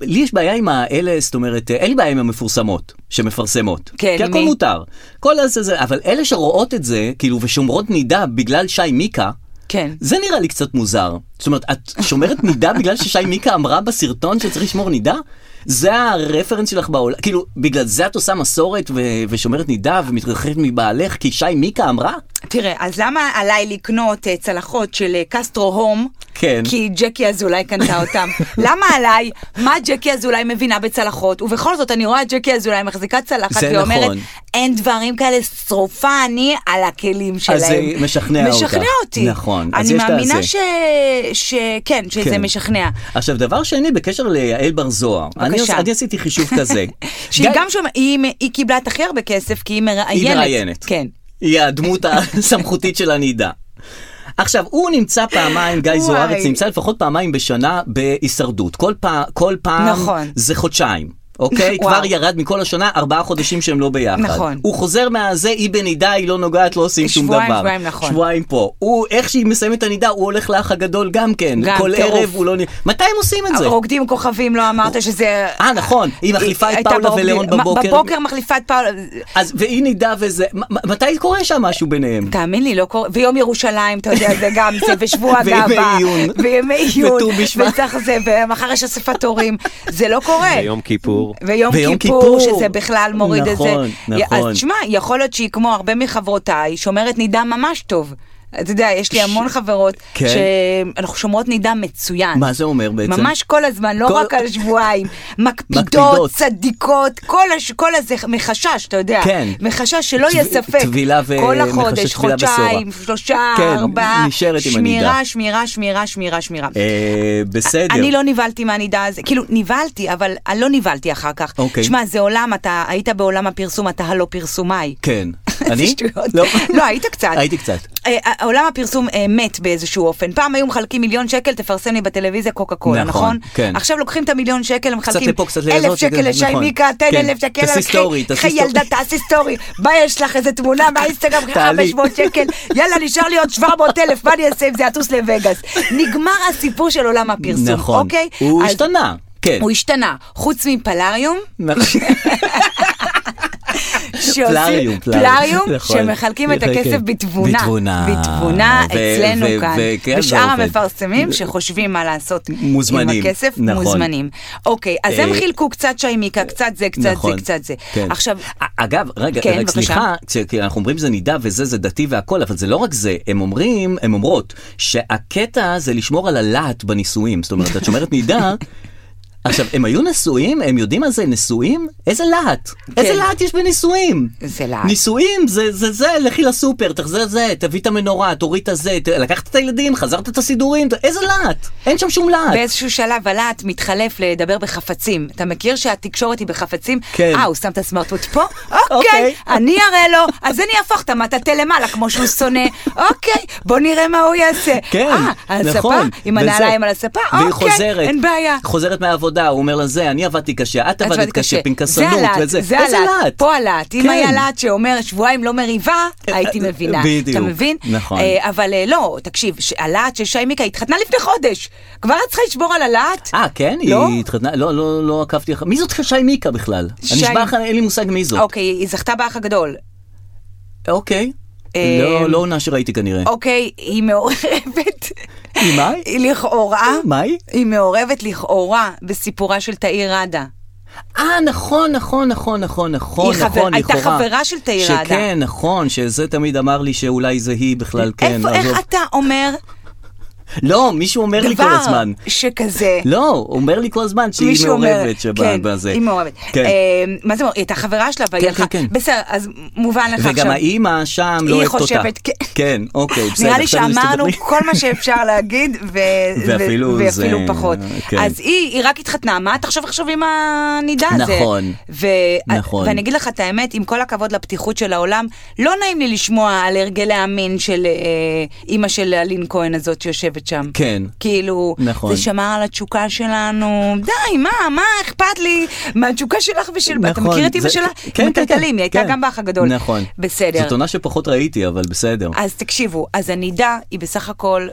לי יש בעיה עם האלה, זאת אומרת, אה, אין לי בעיה עם המפורסמות שמפרסמות.
כן,
כי הכל
מי?
מותר. כל הזה זה, אבל אלה שרואות את זה, כאילו, ושומרות נידה בגלל שי מיקה,
כן.
זה נראה לי קצת מוזר. זאת אומרת, את שומרת נידה בגלל ששי מיקה אמרה בסרטון שצריך לשמור נידה? זה הרפרנס שלך בעולם? כאילו, בגלל זה את עושה מסורת ו- ושומרת נידה ומתרחקת מבעלך כי שי מיקה אמרה?
תראה, אז למה עליי לקנות אה, צלחות של אה, קסטרו הום?
כן.
כי ג'קי אזולאי קנתה אותם. למה עליי? מה ג'קי אזולאי מבינה בצלחות? ובכל זאת, אני רואה את ג'קי אזולאי מחזיקה צלחת
זה
ואומרת,
נכון.
אין דברים כאלה, שרופה אני על הכלים שלהם.
אז זה משכנע אותך.
משכנע אותי.
נכון, אז
אני
יש את
מאמינה
הזה.
ש... שכן, שזה
כן.
משכנע.
עכשיו, דבר שני, בקשר ליעל בר זוהר. אני
בבקשה.
עוש- אני עשיתי חישוב כזה.
שהיא
גיא-
גם שומעת, היא, היא קיבלה את הכי הרבה כסף, כי היא מראיינת.
היא מראיינת.
כן.
היא הדמות הסמכותית של הנידה. עכשיו, הוא נמצא פעמיים, גיא
וואי.
זוארץ נמצא לפחות פעמיים בשנה בהישרדות. כל, פע, כל פעם
נכון.
זה חודשיים, אוקיי?
וואו.
כבר ירד מכל השנה ארבעה חודשים שהם לא ביחד.
נכון.
הוא חוזר מהזה, היא בנידה, היא לא נוגעת, לא עושים שום דבר.
שבועיים, שבועיים, נכון.
שבועיים פה. הוא, איך שהיא מסיימת את הנידה, הוא הולך לאח הגדול גם כן.
גם,
כל
טירוף.
ערב הוא לא... נ- מתי הם עושים את זה?
רוקדים כוכבים, לא אמרת שזה...
אה, נכון, היא מחליפה את
הייתה
פאולה
ברוקדים-
ולאון
מה,
בבוקר.
בבוקר מחליפה את פאולה.
אז, והיא נידה וזה... מ- מתי קורה שם משהו ביניהם?
תאמין לי, לא קורה, ויום ירושלים, אתה יודע, זה גם זה, ושבוע
וימי
הגאווה,
עיון.
וימי עיון,
וט"ו בשבט.
וצריך זה, ומחר יש אספת הורים, זה לא קורה.
ביום כיפור.
ויום
ויום
כיפור,
כיפור.
שזה בכלל מוריד את זה.
נכון, נכון.
אז תשמע, יכול להיות שהיא כמו הרבה מחברותיי, שומרת נידה ממש טוב. אתה יודע, יש לי המון חברות
כן.
שאנחנו שומרות נידה מצוין.
מה זה אומר בעצם?
ממש כל הזמן, לא
כל-
רק על שבועיים.
מקפידות.
מקפידות, צדיקות, כל הש- כל הזה, מחשש, אתה יודע.
כן.
מחשש שלא יהיה
טב-
ספק.
טבילה ו-
כל
מחשש
החודש,
טבילה בשערה.
חודשיים, שלושה,
כן,
ארבעה.
נשארת עם הנידה.
שמירה, שמירה, שמירה, שמירה, שמירה.
אה, בסדר.
אני לא נבהלתי מהנידה הזה, כאילו נבהלתי, אבל אני לא נבהלתי אחר כך.
אוקיי.
שמע, זה עולם, אתה היית בעולם הפרסום, אתה הלא פרסומאי.
כן.
זה
אני?
שטויות.
לא.
לא, היית קצת.
הייתי קצת.
אה, ה- עולם הפרסום אה, מת באיזשהו אופן. פעם היו מחלקים מיליון שקל, תפרסם לי בטלוויזיה קוקה קולה,
נכון,
נכון?
כן.
עכשיו לוקחים את המיליון שקל, מחלקים
לפה, קצת
אלף
לזאת,
שקל
שקל,
לשי
נכון.
מיקה, תן
כן.
אלף שקל,
תעשי
אחי,
סטורי, תעשי
אחי,
סטורי.
ילדה, תעשי סטורי. מה יש לך, איזה תמונה באינסטגרם, אחי,
תעלי.
500 שקל, יאללה, נשאר לי עוד 700 אלף, מה אני אעשה עם זה, אטוס לווגאס. נגמר הסיפור של עולם הפרסום,
נכון.
אוקיי?
הוא
אז-
השתנה. כן.
הוא השתנה, חוץ מפלאריום,
נכון.
שעושים-
פלאריום,
פלאריום,
נכון.
שמחלקים את
כן.
הכסף בתבונה.
בתבונה.
בתבונה
ו-
אצלנו
ו- כן,
כאן.
וכן, זה
ושאר
עובד.
המפרסמים שחושבים מה לעשות
מוזמנים,
עם הכסף,
נכון.
מוזמנים. אוקיי, אז הם
אה,
חילקו קצת שיימיקה, קצת זה, קצת זה,
נכון.
קצת זה.
כן.
עכשיו,
א- אגב, רגע,
כן,
רק
בבקשה.
סליחה, כש- כי אנחנו אומרים זה נידה וזה, זה דתי והכל, אבל זה לא רק זה, הם אומרים, הם אומרות, שהקטע זה לשמור על הלהט בנישואים. זאת אומרת, את שומרת נידה, עכשיו, הם היו נשואים? הם יודעים מה זה נשואים? איזה להט? איזה להט יש בנישואים?
כן. זה להט.
נישואים זה זה זה, לכי לסופר, תחזר זה, תביא את המנורה, תוריד את הזה, ת- לקחת את הילדים, חזרת את הסידורים, ת- איזה להט? אין שם שום להט.
באיזשהו שלב הלהט מתחלף לדבר בחפצים. אתה מכיר שהתקשורת היא בחפצים?
כן.
אה, הוא שם את הסמארטפוט פה?
אוקיי.
אוקיי, אני אראה לו, אז אני אהפוך את המטאטה למעלה כמו שהוא שונא. אוקיי, בוא נראה מה הוא יעשה.
כן,
אה, על הספה?
נכון.
עם
וזה.
הנעליים על הספה?
והיא
אוקיי,
חוזרת,
אין בעיה.
חוזרת מהעבודה, הוא אומר לה זה, אני עבדתי קשה, את עבדת קשה, פנקסנות
זה הלהט,
וזה.
זה
איזה
הלהט, פה הלהט.
כן.
אם היה להט שאומר שבועיים לא מריבה, הייתי
אה,
מבינה.
בדיוק.
אתה מבין?
נכון.
אה, אבל אה, לא, תקשיב, ש- הלהט של שי מיקה התחתנה לפני חודש. כבר את צריכה לשבור על הלהט?
אה, כן?
לא?
היא התחתנה? לא, לא, לא עקבתי אחר... מי זאת שי מיקה בכלל? אני
שי-
נשבע לך, אין לי מושג מי זאת.
אוקיי, היא זכתה באח הגדול.
אוקיי.
אה,
לא, לא עונה שראיתי כנראה.
אוקיי, היא מעורבת.
היא מה?
היא לכאורה.
מה היא?
היא מעורבת לכאורה בסיפורה של תאיר ראדה.
אה, נכון, נכון, נכון, נכון, נכון,
היא חבר-
נכון,
הייתה
לכאורה.
חברה של תאיר
שכן,
ראדה.
נכון, שזה תמיד אמר לי שאולי זה היא בכלל, כן.
איפה,
עזוב.
איך אתה אומר
לא, מישהו אומר לי כל
דבר
הזמן.
שכזה?
לא, הוא אומר לי כל הזמן שהיא
מישהו אומר-
מעורבת
כן,
שבזה.
היא מעורבת.
כן.
אה, מה זה מעורבת? היא הייתה חברה שלה והיא
כן,
הלכה.
כן, כן.
בסדר, אז מובן לך
וגם
עכשיו.
האימא שם לא
היא
אוהבת אותה.
חושבת, כן.
כן, אוקיי, בסדר.
נראה לי
עכשיו
שאמרנו
מסתדרים.
כל מה שאפשר להגיד, ו-
ואפילו
ו- ואפילו
זה-
פחות.
כן.
אז היא היא רק התחתנה, מה את עכשיו עכשיו עם הנידה הזה?
נכון.
ו-
נכון.
ואני אגיד לך את האמת, עם כל הכבוד לפתיחות של העולם, לא נעים לי לשמוע על הרגלי המין של אה, אימא של אלין כהן הזאת שיושבת שם.
כן.
כאילו,
נכון.
זה שמר על התשוקה שלנו, די, מה, מה אכפת לי מהתשוקה שלך ושל... אתה
נכון,
מכיר את אימא
זה-
שלה?
כן, כן,
עם הטלטלים,
כן,
היא הייתה
כן.
גם באח הגדול.
נכון.
בסדר.
זאת עונה שפחות ראיתי, אבל בסדר.
אז תקשיבו, אז הנידה היא בסך הכל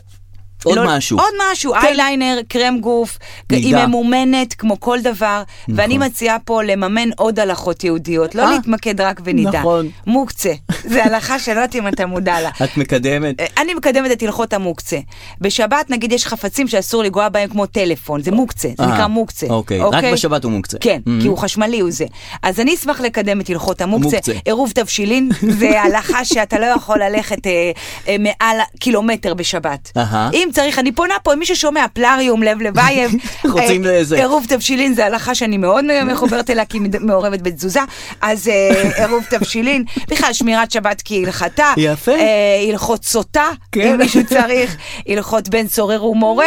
עוד
לא-
משהו. כן.
עוד משהו, אייליינר, קרם גוף, היא
נידה. נכון.
ממומנת כמו כל דבר, ואני מציעה פה לממן עוד הלכות יהודיות, לא
אה,
להתמקד רק בנידה.
נכון.
מוקצה, זה הלכה שלא יודעת אם אתה מודע לה.
את מקדמת.
אה, אני מקדמת את הלכות המוקצה. בשבת נגיד יש חפצים שאסור לנגוע בהם כמו טלפון, זה מוקצה, זה
אה,
נקרא מוקצה.
אוקיי, רק בשבת הוא מוקצה.
כן,
Mhm.
כי הוא חשמלי הוא זה. אז אני אשמח לקדם את הלכות המוקצה.
מוקצה.
עירוב תבשילין זה הלכה שאתה לא יכול ללכת אה, אה, מעל קילומטר בשבת.
אהה.
אם צריך, אני פונה פה, אם מישהו שומע פלאריום, לב לבייב,
רוצים
אה,
לזה.
עירוב תבשילין זה הלכה שאני מאוד מחוברת אליה, כי היא מעורבת בתזוזה, אז אה, עירוב תבשילין, בכלל שמירת שבת כהלכתה.
יפה.
אה, הלכות סוטה,
כן.
אם מישהו צריך, הלכות בן סורר ומורה.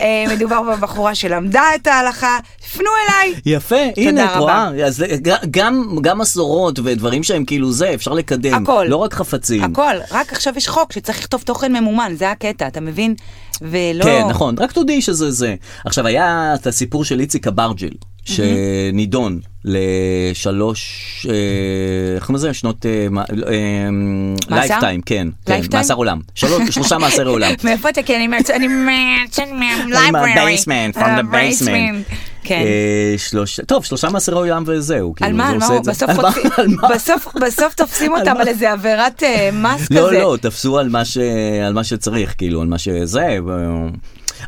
אה, מדובר בבחורה שלמדה את ההלכה, פנו אליי.
יפה, הנה, את
רבה.
רואה, אז אה, ג- גם, גם מסורות ודברים שהם כאילו זה, אפשר לקדם,
הכל.
לא רק חפצים.
הכל, רק עכשיו יש חוק שצריך לכתוב תוכן ממומן, זה הקטע, אתה מבין? ולא...
כן, נכון, רק תודי שזה זה. עכשיו, היה את הסיפור של איציק אברג'יל, שנידון לשלוש, אה, איך קוראים לזה? שנות... אה, מה- אה,
מאסר?
לייפטיים, כן. כן,
לייפטיים?
מאסר עולם. שלוש- שלושה מאסרי עולם.
מאיפה אתה? כי אני מהצד, אני מהצד
I'm a
מהלייבררי.
basement, from the basement.
Uh, כן.
אה, שלוש- טוב, שלושה מאסרי עולם וזהו.
על
כאילו,
מה,
זה
על מה,
עושה את זה.
בסוף
על מה-
חוטפים-
על מה?
בסוף- בסוף תופסים
על
אותם
מה?
על איזה עבירת אה, מס כזה.
לא, לא, תפסו על מה, ש... על מה שצריך, כאילו, על מה שזה. ו-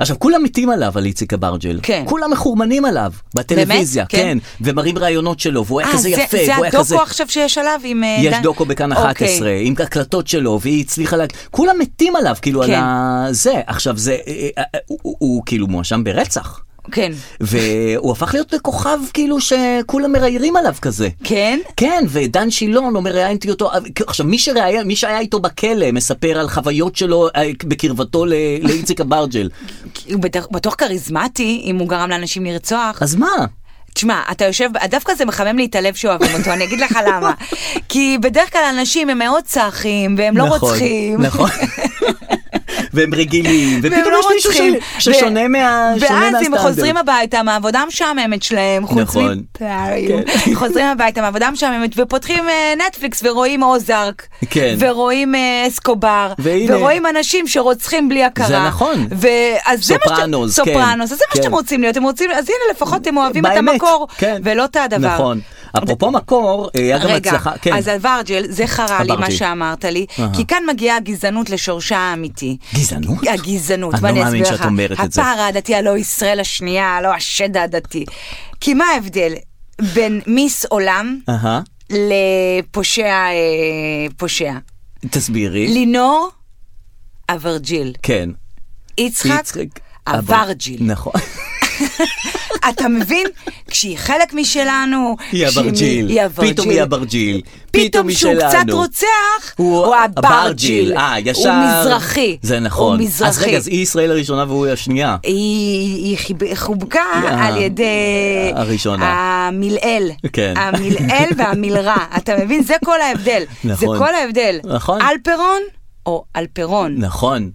עכשיו, כולם מתים עליו, על איציק אברג'ל.
כן.
כולם מחורמנים עליו, בטלוויזיה,
באמת? כן.
כן. ומראים ראיונות שלו, והוא היה
אה,
כזה
זה-
יפה,
זה
והוא היה כזה...
הדוקו עכשיו שיש עליו עם... אה,
יש
דן-
דוקו בכאן
אוקיי.
11, עם הקלטות שלו, והיא הצליחה לה... כולם מתים עליו, כאילו, על
כן.
ה... זה. עכשיו, זה... אה, אה, אה, הוא- הוא הוא כאילו מואשם ברצח.
כן.
והוא הפך להיות לכוכב, כאילו, שכולם מראיירים עליו כזה.
כן?
כן, ודן שילון אומר, ראיינתי אותו, עכשיו מי שראיין, מי שהיה איתו בכלא מספר על חוויות שלו אה, בקרבתו ל- לאיציק אברג'ל.
כי הוא בטח- בטוח כריזמטי, אם הוא גרם לאנשים לרצוח.
אז מה?
תשמע, אתה יושב, דווקא זה מחמם לי את הלב שאוהבים אותו, אני אגיד לך למה. כי בדרך כלל אנשים הם מאוד צחים, והם לא
נכון,
רוצחים.
נכון. והם רגילים,
והם
ופתאום
לא
יש מישהו
רוצחים.
ש- ששונה מה... שונה
ואז הם
מהסטנדרט.
חוזרים הביתה מהעבודה המשעממת שלהם, חוץ
נכון.
מפלאריום. חוזרים הביתה מהעבודה המשעממת ופותחים אה, נטפליקס ורואים אוזארק.
כן.
ורואים אה, אסקובר.
והנה.
ורואים אנשים שרוצחים בלי הכרה.
זה נכון.
ו- אז זה מה שאתם-
סופרנוס, כן.
סופרנוס, אז זה
כן.
מה שאתם רוצים להיות, הם רוצים, אז הנה לפחות הם אוהבים את
באמת,
המקור,
כן.
ולא את הדבר.
נכון. אפרופו מקור, היה גם
רגע,
הצלחה, כן.
אז על ורג'ל, זה חרה לי
הברג'יל.
מה שאמרת לי, כי כאן מגיעה הגזענות לשורשה האמיתי.
גזענות?
הגזענות,
אני
מה
לא
אני
מאמין
אסביר לך?
שאת אומרת את זה.
הפער העדתי הלא ישראל השנייה, הלא השד העדתי. כי מה ההבדל בין מיס עולם
אהה,
לפושע, אה, פושע?
תסבירי.
לינור, אברג'יל.
כן.
יצחק, אברג'יל.
נכון.
אתה מבין? כשהיא חלק משלנו,
היא
כשהיא-
אברג'יל, פתאום היא אברג'יל, פתאום
פתאום
היא
שהוא
שלנו.
קצת רוצח,
הוא
הוא
אברג'יל,
אברג'יל.
אה, ישר.
הוא מזרחי.
זה נכון.
הוא
אז רגע,
מזרחי.
אז היא ישראל הראשונה והוא השנייה.
היא היא חיב- חובקה
אה,
על ידי
הראשונה.
המילאל,
כן.
המילאל והמילרע, אתה מבין? זה כל ההבדל, זה
נכון.
כל ההבדל.
נכון.
אלפרון או אלפרון,
נכון.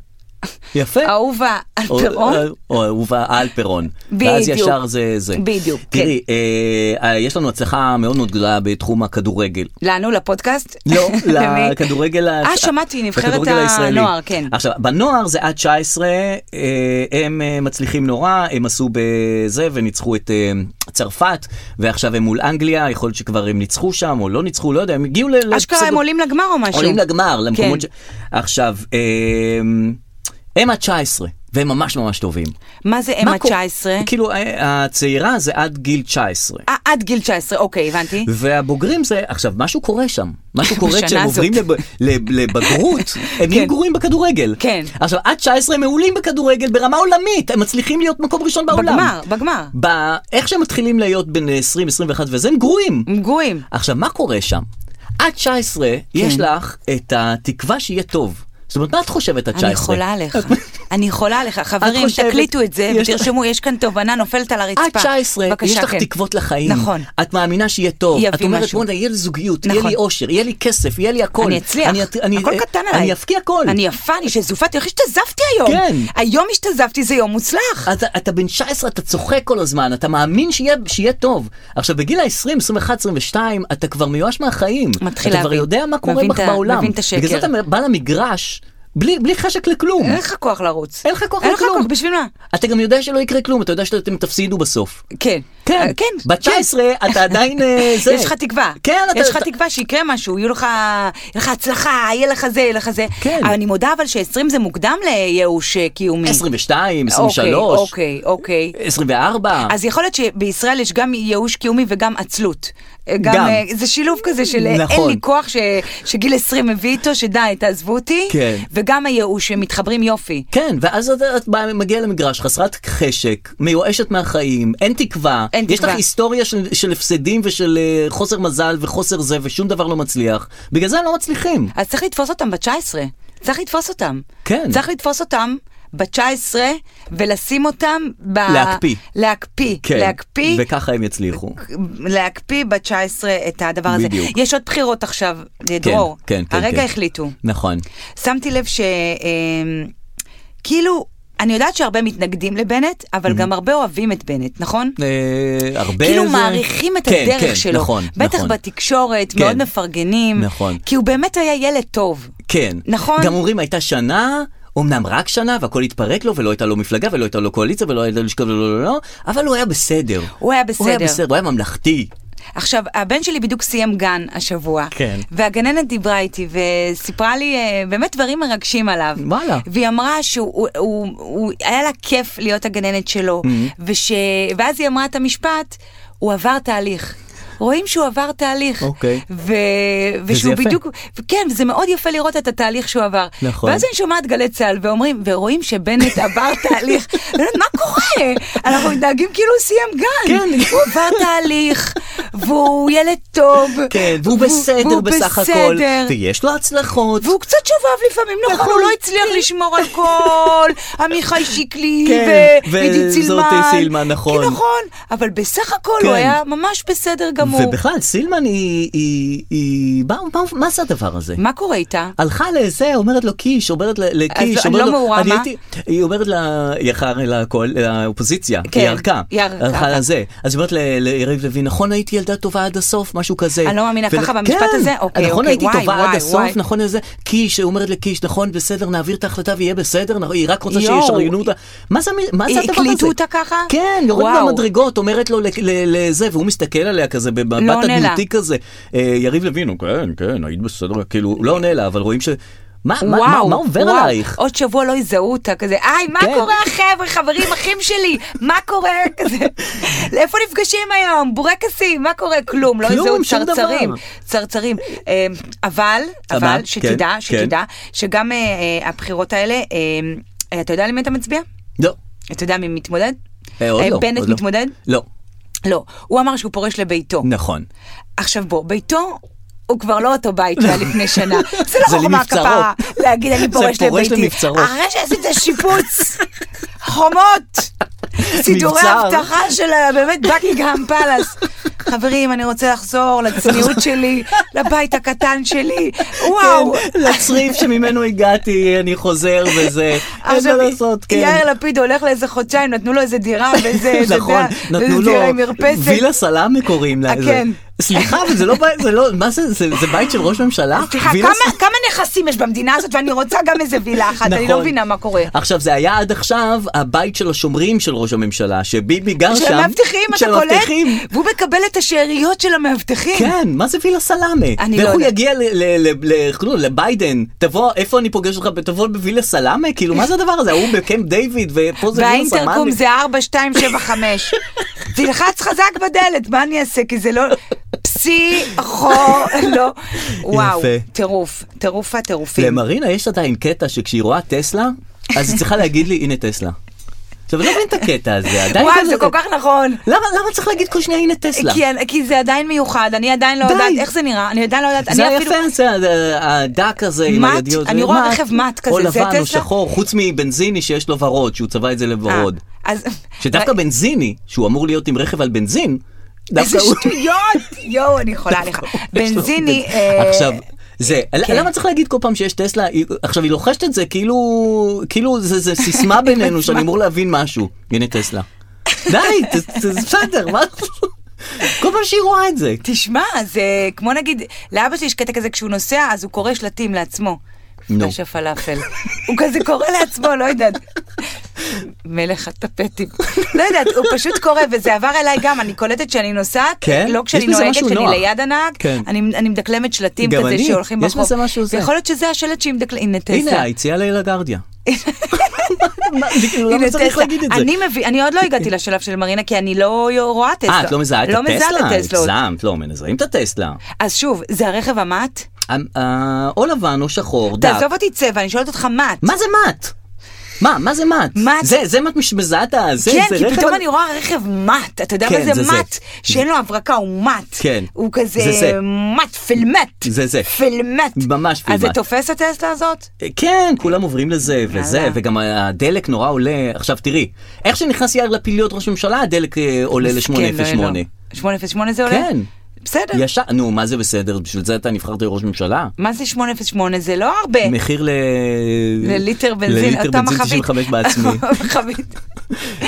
יפה.
אהובה
נכון. או- אה,
אלפרון,
או אהובה אלפרון.
בדיוק.
ואז ישר זה זה.
בדיוק, כן.
תראי, אה, אה, יש לנו הצלחה מאוד מאוד גדולה בתחום הכדורגל.
לנו לפודקאסט?
לא,
למי?
לכדורגל ה-
אה, שמעתי, נבחרת
לכדורגל הישראלי.
הנוער, כן.
עכשיו, בנוער זה עד 19, אה, הם אה, מצליחים נורא, הם עשו בזה וניצחו את אה, צרפת, ועכשיו הם מול אנגליה, יכול להיות שכבר הם ניצחו שם או לא ניצחו, לא יודע, הם הגיעו ל...
אשכרה הם
לפסדו-
עולים לגמר או משהו?
עולים לגמר, למקומות ש...
כן.
עכשיו, אה, הם עד 19, והם ממש ממש טובים.
מה זה אם
מה קורה?
ה-19?
כאילו, אה, הצעירה זה עד גיל 19.
אה, עד גיל 19, אוקיי, הבנתי.
והבוגרים זה, עכשיו, משהו קורה שם. משהו קורה
בשנה
כשהם
הזאת.
עוברים לב, לב, לבגרות, הם נהיים
כן.
גרועים בכדורגל.
כן.
עכשיו, עד 19 הם מעולים בכדורגל ברמה עולמית, הם מצליחים להיות מקום ראשון בעולם.
בגמר, בגמר.
ב... איך שהם מתחילים להיות בין 20, 21 וזה, הם גרועים.
הם גרועים.
עכשיו, מה קורה שם? עד 19
כן.
יש לך את התקווה שיהיה טוב. זאת אומרת, מה את חושבת עד 19?
אני חולה עליך, אני חולה עליך. חברים,
חושבת-
תקליטו את זה
יש-
ותרשמו, יש כאן תובנה נופלת על הרצפה.
עד 19
בבקשה,
יש לך
כן.
תקוות לחיים.
נכון.
את מאמינה שיהיה טוב.
יביא
את אומרת,
משהו.
בוא'נה, יהיה לי זוגיות, יהיה
נכון.
לי אושר, יהיה לי כסף, יהיה לי הכל.
אני אצליח,
אני-
הכל קטן עליי.
אני אבקיע הכל.
אני יפה, אני שזופתי, איך השתזפתי היום?
כן. אה.
היום השתזפתי, זה יום מוצלח.
אתה, אתה בן 19, אתה צוחק כל הזמן, אתה מאמין שיהיה, שיהיה טוב. עכשיו, בגיל ה-20, 21, 22, אתה כבר מיואש מהחיים.
מתחיל
אתה כבר
להבין.
יודע מה קורה
מבין
בך
את ה-
בעולם.
מבין את השקר.
בגלל זה אתה בא למגרש. בלי, בלי חשק לכלום.
אין לך כוח לרוץ.
אין לך כוח
אין לך
לכלום.
כוח, בשביל מה?
אתה גם יודע שלא יקרה כלום, אתה יודע שאתם תפסידו בסוף.
כן.
כן,
אה, כן.
בת 19 אתה עדיין אה, זה.
יש לך תקווה.
כן, אתה...
יש לך
אתה-
תקווה שיקרה משהו, יהיו לך, יהיה לך הצלחה, יהיה לך זה, יהיה לך זה.
כן.
אבל אני מודה אבל ש-20 זה מוקדם לייאוש אה, קיומי.
22, 23,
אוקיי, אוקיי. אוקיי.
24.
אז יכול להיות שבישראל יש גם ייאוש קיומי וגם עצלות. אה,
גם.
גם. אה, זה שילוב כזה של אה, אין
נכון.
לי כוח ש- שגיל 20 מביא איתו, שדי, תעזבו אותי.
כן.
וגם הייאוש, הם מתחברים יופי.
כן, ואז את, את באה- מגיעה למגרש חסרת חשק, מיואשת מהחיים, אין תקווה.
אין
יש
תקווה.
לך היסטוריה של, של הפסדים ושל אה, חוסר מזל וחוסר זה, ושום דבר לא מצליח. בגלל זה הם לא מצליחים.
אז צריך לתפוס אותם ב-19. צריך לתפוס אותם.
כן.
צריך לתפוס אותם ב-19 ולשים אותם ב...
להקפיא.
להקפיא.
כן.
להקפיא.
וככה הם יצליחו.
להקפיא ב-19 את הדבר הזה.
בדיוק.
יש עוד בחירות עכשיו,
כן,
דרור.
כן, כן.
הרגע
כן.
החליטו.
נכון.
שמתי לב ש... אה, כאילו, אני יודעת שהרבה מתנגדים לבנט, אבל גם הרבה אוהבים את בנט, נכון?
אה, הרבה
כאילו
זה-
מעריכים את
כן,
הדרך
כן,
שלו,
נכון,
בטח
נכון.
בתקשורת,
כן.
מאוד מפרגנים,
נכון.
כי הוא באמת היה ילד טוב.
כן.
נכון?
גם אומרים הייתה שנה. אמנם רק שנה והכל התפרק לו ולא הייתה לו מפלגה ולא הייתה לו קואליציה ולא הייתה לו לשכה ולא לא לא לא, אבל הוא היה בסדר.
הוא היה
הוא היה
בסדר.
בסדר, הוא היה ממלכתי.
עכשיו, הבן שלי בדיוק סיים גן השבוע,
כן.
והגננת דיברה איתי וסיפרה לי אה, באמת דברים מרגשים עליו.
וואלה.
והיא אמרה שהוא, הוא, הוא, הוא, היה לה כיף להיות הגננת שלו,
Mm-hmm.
וש... ואז היא אמרה את המשפט, הוא עבר תהליך. רואים שהוא עבר תהליך,
אוקיי.
ו... ושהוא
יפה.
בדיוק, כן, וזה מאוד יפה לראות את התהליך שהוא עבר.
נכון.
ואז אני שומעת גלי צה"ל ואומרים, ורואים שבנט עבר תהליך, אני אומרת, מה קורה? אנחנו מתנהגים כאילו הוא סיים גן,
כן.
הוא עבר תהליך, והוא ילד טוב,
כן, והוא בסדר בסך הכל, ויש לו הצלחות.
והוא קצת שובב לפעמים, נכון, הוא לא הצליח לשמור על כל עמיחי שקלי
כן,
ו- ועידית
וזאתי
סילמן.
סילמן, נכון.
כן, נכון, אבל בסך הכל
כן.
הוא היה ממש בסדר גמור.
ובכלל, סילמן היא... היא- היא- מה- מה- מה זה הדבר הזה?
מה קורה איתה?
הלכה לזה, אומרת לו קיש, אומרת ל- לקיש,
אז
אומרת
אני
לו-
לא מעורה,
אני
מה?
הייתי- היא אומרת ל- היא הלכה הרי לקואל- לאופוזיציה,
כן,
היא ערכה,
היא ערקה.
הלכה לזה. אז היא אומרת ל- ליריב לוין, נכון הייתי ילדה טובה עד הסוף, משהו כזה.
אני לא מאמינה,
ול-
ככה במשפט
כן,
הזה? אוקיי,
נכון
אוקיי,
הייתי
וואי,
טובה עד
וואי,
הסוף,
וואי.
נכון לזה, קיש, היא אומרת לקיש, נכון, בסדר, נעביר את ההחלטה ויהיה בסדר, נכון, היא רק רוצה
יואו.
שישריינו אותה. מה זה המ- מה זה הדבר הזה?
הקליטו אותה ככה?
כן, יורד
וואו.
במדרגות, אומרת לו ל- ל- לזה, והוא מסתכל עליה כזה
לא
במבט
עונה לה.
הדמותי כזה. אה, יריב לוין, הוא, כן, כן, היית בסדר, כאילו, הוא לא עונה לה, אבל רואים ש... מה, מה, מה,
וואו,
מה עובר
וואו,
עלייך?
עוד שבוע לא יזהו אותה, כזה, היי, מה
כן.
קורה החבר'ה, חברים, אחים שלי, מה קורה, כזה, איפה נפגשים היום, בורקסים, מה קורה, כלום, לא
כלום,
יזהו
שום
צרצרים,
דבר.
צרצרים. אה, אבל, אבל,
אבל,
שתדע,
כן,
שתדע, שגם אה, אה, הבחירות האלה, אה, אתה יודע למי אתה מצביע?
לא.
אתה יודע מי מתמודד?
אה, עוד
אה,
לא.
בנט
עוד לא.
מתמודד?
לא.
לא. הוא אמר שהוא פורש לביתו.
נכון.
עכשיו בוא, ביתו... הוא כבר לא אותו בית שהיה לפני שנה. זה לא
זה
חוכמה
למבצרו.
כפרה להגיד אני
זה
פורש
פורש
לביתי.
למבצרו.
אחרי שעשית שיפוץ, חומות, סידורי
מבצר.
אבטחה של ה- באמת בקינגהם פלאס. חברים, אני רוצה לחזור לצניעות שלי, לבית הקטן שלי. וואו.
כן, לצריף שממנו הגעתי, אני חוזר וזה, אין מה
עכשיו,
לעשות, כן.
יאיר לפיד הולך לאיזה חודשיים, נתנו לו איזה דירה וזה, אתה
נכון,
יודע,
נתנו
איזה
לו
דירה עם מרפסת.
וילה סלאמה קוראים לה.
אה,
זה.
כן.
סליחה, אבל זה לא בית, זה לא, מה זה, זה זה בית של ראש ממשלה?
סליחה,
וילה
כמה- כמה נכסים יש במדינה הזאת ואני רוצה גם איזה וילה אחת, אני לא
נכון.
מבינה מה קורה.
עכשיו, זה היה עד עכשיו הבית של השומרים של ראש הממשלה, שביבי גר שם.
של המאבטחים, אתה
של
קולט?
המאבטחים.
והוא מקבל את השאריות של המאבטחים.
כן, מה זה וילה סלאמה?
אני
ואיך
לא
הוא
יודעת.
יגיע ל- ל- ל- ל- כלום, לביידן? תבוא, איפה אני פוגש אותך? תבוא בווילה סלאמה? כאילו, מה זה הדבר הזה? ההוא בקמפ דיוויד, ופה זה וילה סלאמה.
והאינטרקום זה 4275. תלחץ חזק בדלת, מה אני אעשה? כי זה לא... פסיכו... לא. וואו, טירוף. טירוף הטירופים.
למרינה יש עדיין קטע שכשהיא רואה טסלה, אז היא צריכה להגיד לי, הנה טסלה. עכשיו, אני לא מבין את הקטע הזה, עדיין
וואי,
כזה-
זה כל כך נכון.
למה למה צריך להגיד כל שנייה, הנה טסלה?
כי, כי זה עדיין מיוחד, אני עדיין לא
די.
יודעת איך זה נראה, אני עדיין לא יודעת,
זה
אני
היה
אפילו...
יפה, זה ה- הדק הזה עם
מט,
הידיות.
אני רואה רכב מט כזה,
או
זה
לבן או
טסלה?
שחור, חוץ מבנזיני שיש לו ורוד, שהוא צבע את זה לוורוד.
אה, אז...
שדווקא בנזיני, שהוא אמור להיות עם רכב על בנזין, דווקא
איזה
הוא... לא,
שטויות! יואו, אני חולה עליך.
יש לו
בנזיני...
בנ-
אה,
עכשיו... זה,
כן.
למה צריך להגיד כל פעם שיש טסלה, היא- עכשיו היא לוחשת את זה כאילו, כאילו זה, זה סיסמה בינינו שאני אמור להבין משהו, הנה טסלה. די, ת- ת- בסדר, מה, כל פעם שהיא רואה את זה.
תשמע, זה כמו נגיד, לאבא שלי יש קטע כזה, כשהוא נוסע, אז הוא קורא שלטים לעצמו. פלאש הפלאפל. הוא כזה קורא לעצמו, לא יודעת. מלך הטפטים. לא יודעת, הוא פשוט קורא, וזה עבר אליי גם, אני קולטת שאני נוסעת,
כן?
לא כשאני
יש בזה
נוהגת,
משהו
כשאני
נוח.
ליד הנהג,
כן.
אני אני מדקלמת שלטים
גם
כזה
אני,
שהולכים
יש
ברחוב.
בזה משהו זה.
יכול להיות שזה השלט שהיא מדקלמת, הנה טסה.
הנה, היציאה ללגרדיה. מה, זה כאילו, למה
הנה,
צריך
טסלה.
להגיד את זה?
אני מבין, אני עוד לא הגעתי לשלב של מרינה, כי אני לא רואה טסלה.
אה, את לא מזהה את
לא מזהה
הטסלה?
את הטסלות.
הגזמת, לא, מזהים את הטסלה.
אז שוב, זה הרכב המט?
אה, אה, או לבן או שחור, דק.
תעזוב אותי צבע, אני שואלת אותך מט.
מה זה מט? מה, מה זה מט?
מט.
זה, זה מה את מש- מזהה את ה... זה,
כן,
זה
כי
רכב
פתאום
על-
אני רואה רכב מט, אתה יודע
כן,
מה זה
זה זה.
מט? שאין לו הברקה, הוא מט.
כן.
הוא כזה
זה זה.
מט, פילמט.
זה זה.
פילמט.
ממש
אז זה
פילמט.
תופס הטסלה הזאת?
כן, כולם עוברים לזה וזה,
יאללה.
וגם הדלק נורא עולה. עכשיו תראי, איך שנכנס יאיר לפיד להיות ראש ממשלה, הדלק אה, עולה ל-808.
כן, לא, לא. 808 זה עולה?
כן.
בסדר.
ישר, נו, מה זה בסדר? בשביל זה אתה נבחרת לראש ממשלה?
מה זה 808? זה לא הרבה.
מחיר ל...
לליטר בנזין, נכון.
לליטר
אותה
בנזין
מחבית.
95 בעצמי.
מחבית.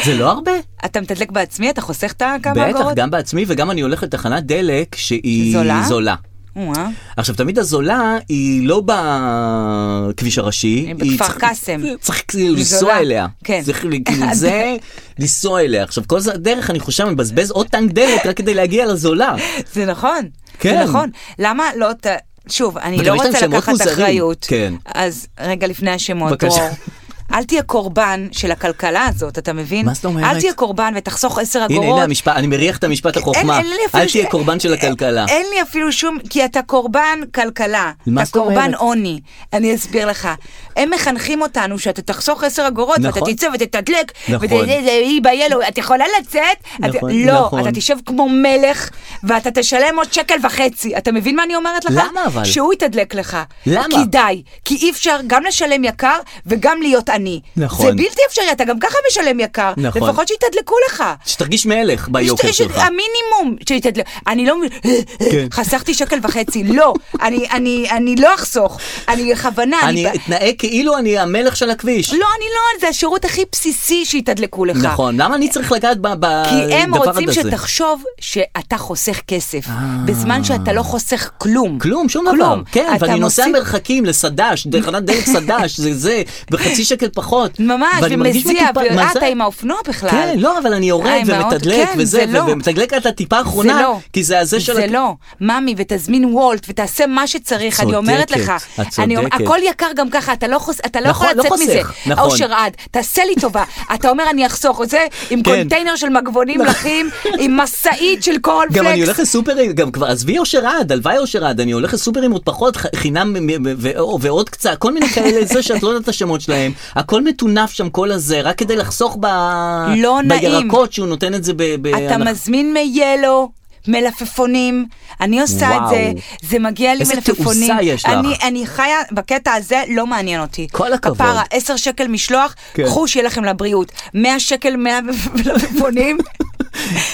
זה לא הרבה.
אתה מתדלק בעצמי? אתה חוסך את הכמה
בטח,
אגורות?
גם בעצמי וגם אני הולך לתחנת דלק שהיא
זולה?
זולה.
או-אה.
עכשיו, תמיד הזולה היא לא בכביש הראשי.
היא בכפר
צריך-
קאסם.
צריך כאילו
היא
לנסוע
זולה.
אליה.
כן.
צריך כאילו זה, לנסוע אליה. עכשיו, כל זה הדרך, אני חושב, אני מבזבז עוד טנק דלק רק כדי להגיע לזולה.
זה נכון.
כן.
זה נכון. למה לא ת... שוב, אני
וגם
לא
יש להם
רוצה
שמות
לקחת
מוזרים.
אחריות.
כן.
אז רגע לפני השמות,
בבקשה.
דרור. אל תהיה קורבן של הכלכלה הזאת, אתה מבין?
מה זאת אומרת?
אל תהיה קורבן ותחסוך עשר אגורות.
הנה, הנה המשפט, אני מריח את המשפט החוכמה.
אין לי אה, אפילו
אל
ש-
תהיה קורבן של הכלכלה.
אין לי אפילו שום, כי אתה קורבן כלכלה,
מה
אתה
זאת אומרת?
קורבן עוני, אני אסביר לך. הם מחנכים אותנו שאתה תחסוך 10 אגורות, ואתה
נכון.
תצא ותתדלק,
נכון.
והיא ב-yellow, את יכולה לצאת? את-
נכון,
לא,
נכון.
אתה תשב כמו מלך, ואתה תשלם עוד שקל וחצי. אתה מבין מה אני אומרת לך?
למה אבל?
שהוא יתדלק לך.
למה?
כי די, כי אי אפשר גם לשלם יקר וגם להיות עני.
נכון.
זה בלתי אפשרי, אתה גם ככה משלם יקר.
נכון.
לפחות שיתדלקו לך.
שתרגיש מלך ביוקר
יש-
כן שלך. כן.
המינימום שיתדלק. אני לא מבין, חסכתי שקל וחצי, לא, אני- אני אני לא אחסוך, אני בכוונה, אני...
אני
ב-
אתנהג כאילו אני המלך של הכביש.
לא, אני לא, זה השירות הכי בסיסי שיתדלקו לך.
נכון, למה אני צריך לגעת ב- בדבר הזה? אה.
כי הם רוצים שתחשוב שאתה חוסך כסף, בזמן שאתה לא חוסך כלום.
כלום, שום דבר.
כלום.
כן,
אתה
ואני נוסע
מוסיף-
מרחקים לסד"ש, תחנת דלק סד"ש, זה זה, בחצי שקל פחות.
ממש,
ואני מרגיש
ומזיע,
מטופל,
ו-
מה
אה,
זה?
אתה עם האופנוע בכלל.
כן, לא, אבל אני
אה,
יורד
עם האוטו,
ומתדלק
כן,
וזה,
זה לא.
ומתדלק עד הטיפה האחרונה,
זה לא.
כי זה הזה של...
זה
הכ-
לא. ממי, ותזמין וולט, ותעשה מה שצריך, אני אומרת לך.
צודקת, את
אני אומר,
צודקת.
הכל יקר גם ככה, אתה לא, חוס, אתה לא
נכון,
יכול
לא
לצאת
חוסך,
מזה.
נכון.
אושר עד, תעשה לי טובה. אתה אומר, אני אחסוך את זה עם
כן.
קונטיינר של מגבונים לחים, עם משאית של
גם אני
קורנפלקס.
הולך לסופרים, גם כבר, עזבי אושר עד, הלוואי אושר עד, אני הולך לסופרים עוד פחות, ח- חינם מ- מ- ו- ו- ועוד קצת, כל מיני כאלה, זה שאת לא יודעת את השמות שלהם, הכל מטונף שם כל הזה, רק כדי לחסוך ב...
לא נעים.
בירקות שהוא נותן את זה ב...
אתה
בהנחה.
מזמין מיילו. מלפפונים, אני עושה
וואו.
את זה, זה מגיע לי
איזה
מלפפונים.
תעוזה יש לך.
אני, אני חיה, בקטע הזה לא מעניין אותי.
כל הכבוד.
כפרה, 10 שקל משלוח,
כן.
קחו שיהיה לכם לבריאות. 100 שקל מאה מלפפונים.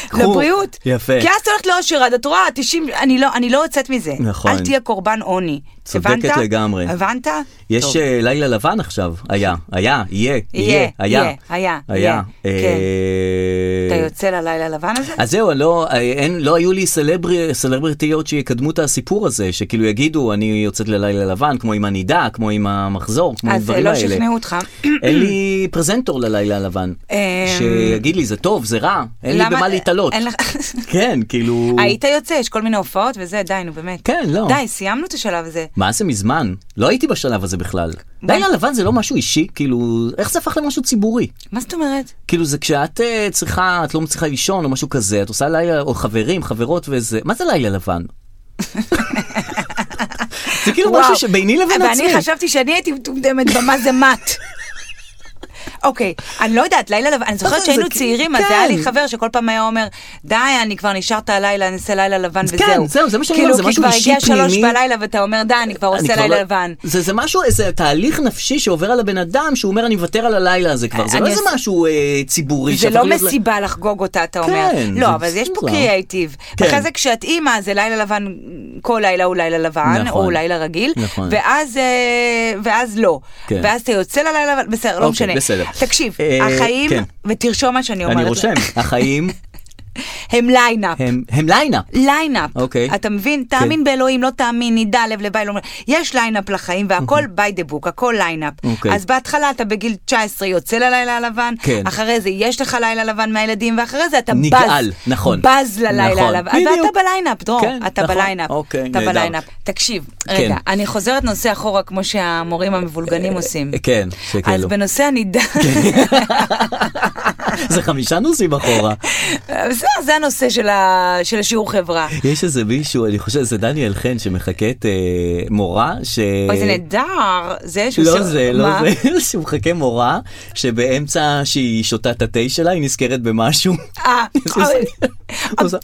קחו.
לבריאות.
יפה.
כי אז את הולכת לאושר, את רואה, 90, אני לא, אני לא יוצאת מזה.
נכון.
אל תהיה קורבן עוני.
צודקת
הבנת?
לגמרי.
הבנת?
יש
טוב.
uh, לילה לבן עכשיו, היה, היה, יהיה, יהיה, היה,
יהיה, היה,
היה.
יהיה, כן.
אה,
אתה יוצא ללילה לבן הזה?
אז זהו, לא, אה, אין, לא היו לי סלבר, סלברטיות שיקדמו את הסיפור הזה, שכאילו יגידו, אני יוצאת ללילה לבן, כמו עם הנידה, כמו עם המחזור, כמו
אז אה,
הדברים
לא
האלה.
שכנעו אותך.
אין לי פרזנטור ללילה לבן,
אמ,
שיגיד לי, זה טוב, זה רע, אין לי
למה-
במה להתעלות.
אין לך-
כן, כאילו...
היית יוצא, יש כל מיני הופעות וזה, די, נו באמת.
כן, לא.
די, סיימנו את השלב הזה.
מה זה מזמן? לא הייתי בשלב הזה בכלל. לילה לבן זה לא משהו אישי, כאילו, איך זה הפך למשהו ציבורי?
מה זאת אומרת?
כאילו זה כשאת אה, צריכה, את לא מצליחה לישון או משהו כזה, את עושה לילה, או חברים, חברות וזה, מה זה לילה לבן? זה כאילו
וואו.
משהו שביני לבין עצמי.
ואני חשבתי שאני הייתי מטומטמת במה זה מת. אוקיי, אני לא יודעת, לילה לבן, אני
נכון,
זוכרת
זה
שהיינו
כ-
צעירים, אז
כן.
היה לי חבר שכל פעם היה אומר, די, אני כבר נשארת הלילה, אני אעשה לילה לבן וזהו.
כן, זהו, זה מה שאני אומרת, זה משהו אישי
כאילו, כי כבר הגיע
פנימי.
שלוש בלילה ואתה אומר, די, אני כבר
אני
עושה
כבר
לילה
לא-
לבן.
זה, זה משהו, איזה תהליך נפשי שעובר על הבן אדם, שהוא אומר אני מוותר על הלילה הזה כבר, זה
אני
לא איזה
עושה-
משהו אה, ציבורי.
זה
שהפך
לא
להיות ל-
מסיבה לחגוג אותה, אתה אומר.
כן, זה
לא, אבל יש פה
בסדר.
קריאייטיב.
כן.
אחרי זה כשאת אימא, זה לילה לבן, כל לילה הוא לילה לבן,
נכון.
או לילה רגיל,
נכון.
ואז אה, ואז לא.
כן.
ואז אתה יוצא ללילה לבן, בסדר, לא
אוקיי,
משנה.
בסדר.
תקשיב,
אה,
החיים,
כן.
ותרשום מה שאני אומרת.
אני רושם, החיים,
הם ליינאפ.
הם, הם ליינאפ.
ליינאפ.
אוקיי.
אתה מבין? תאמין באלוהים, לא תאמין, נידע לב לבית. לא... יש ליינאפ לחיים והכל by the book, הכל ליינאפ.
אוקיי.
אז בהתחלה אתה בגיל 19 יוצא ללילה הלבן,
כן.
אחרי זה יש לך לילה לבן מהילדים, ואחרי זה אתה
נגאל,
בז.
נכון.
בז ללילה
נכון,
הלבן. אז
בדיוק.
אתה בליינאפ, דרור.
כן,
אתה
נכון.
בליינאפ.
אוקיי,
אתה
נהדר.
בליינאפ. תקשיב, רגע,
כן.
אני חוזרת נושא אחורה כמו שהמורים המבולגנים עושים.
כן,
אז
שכאילו.
בנושא הנידע...
זה חמישה נוסעים אחורה.
זה, זה הנושא של, ה... של השיעור חברה.
יש איזה מישהו, אני חושב, זה דניאל חן שמחקת אה, מורה, ש...
אוי, זה נהדר, זה שהוא...
לא
ש-
זה, לא
מה?
זה, שהוא מחכה מורה, שבאמצע שהיא שותה את התה שלה, היא נזכרת במשהו.
אה, אוי,
עושה-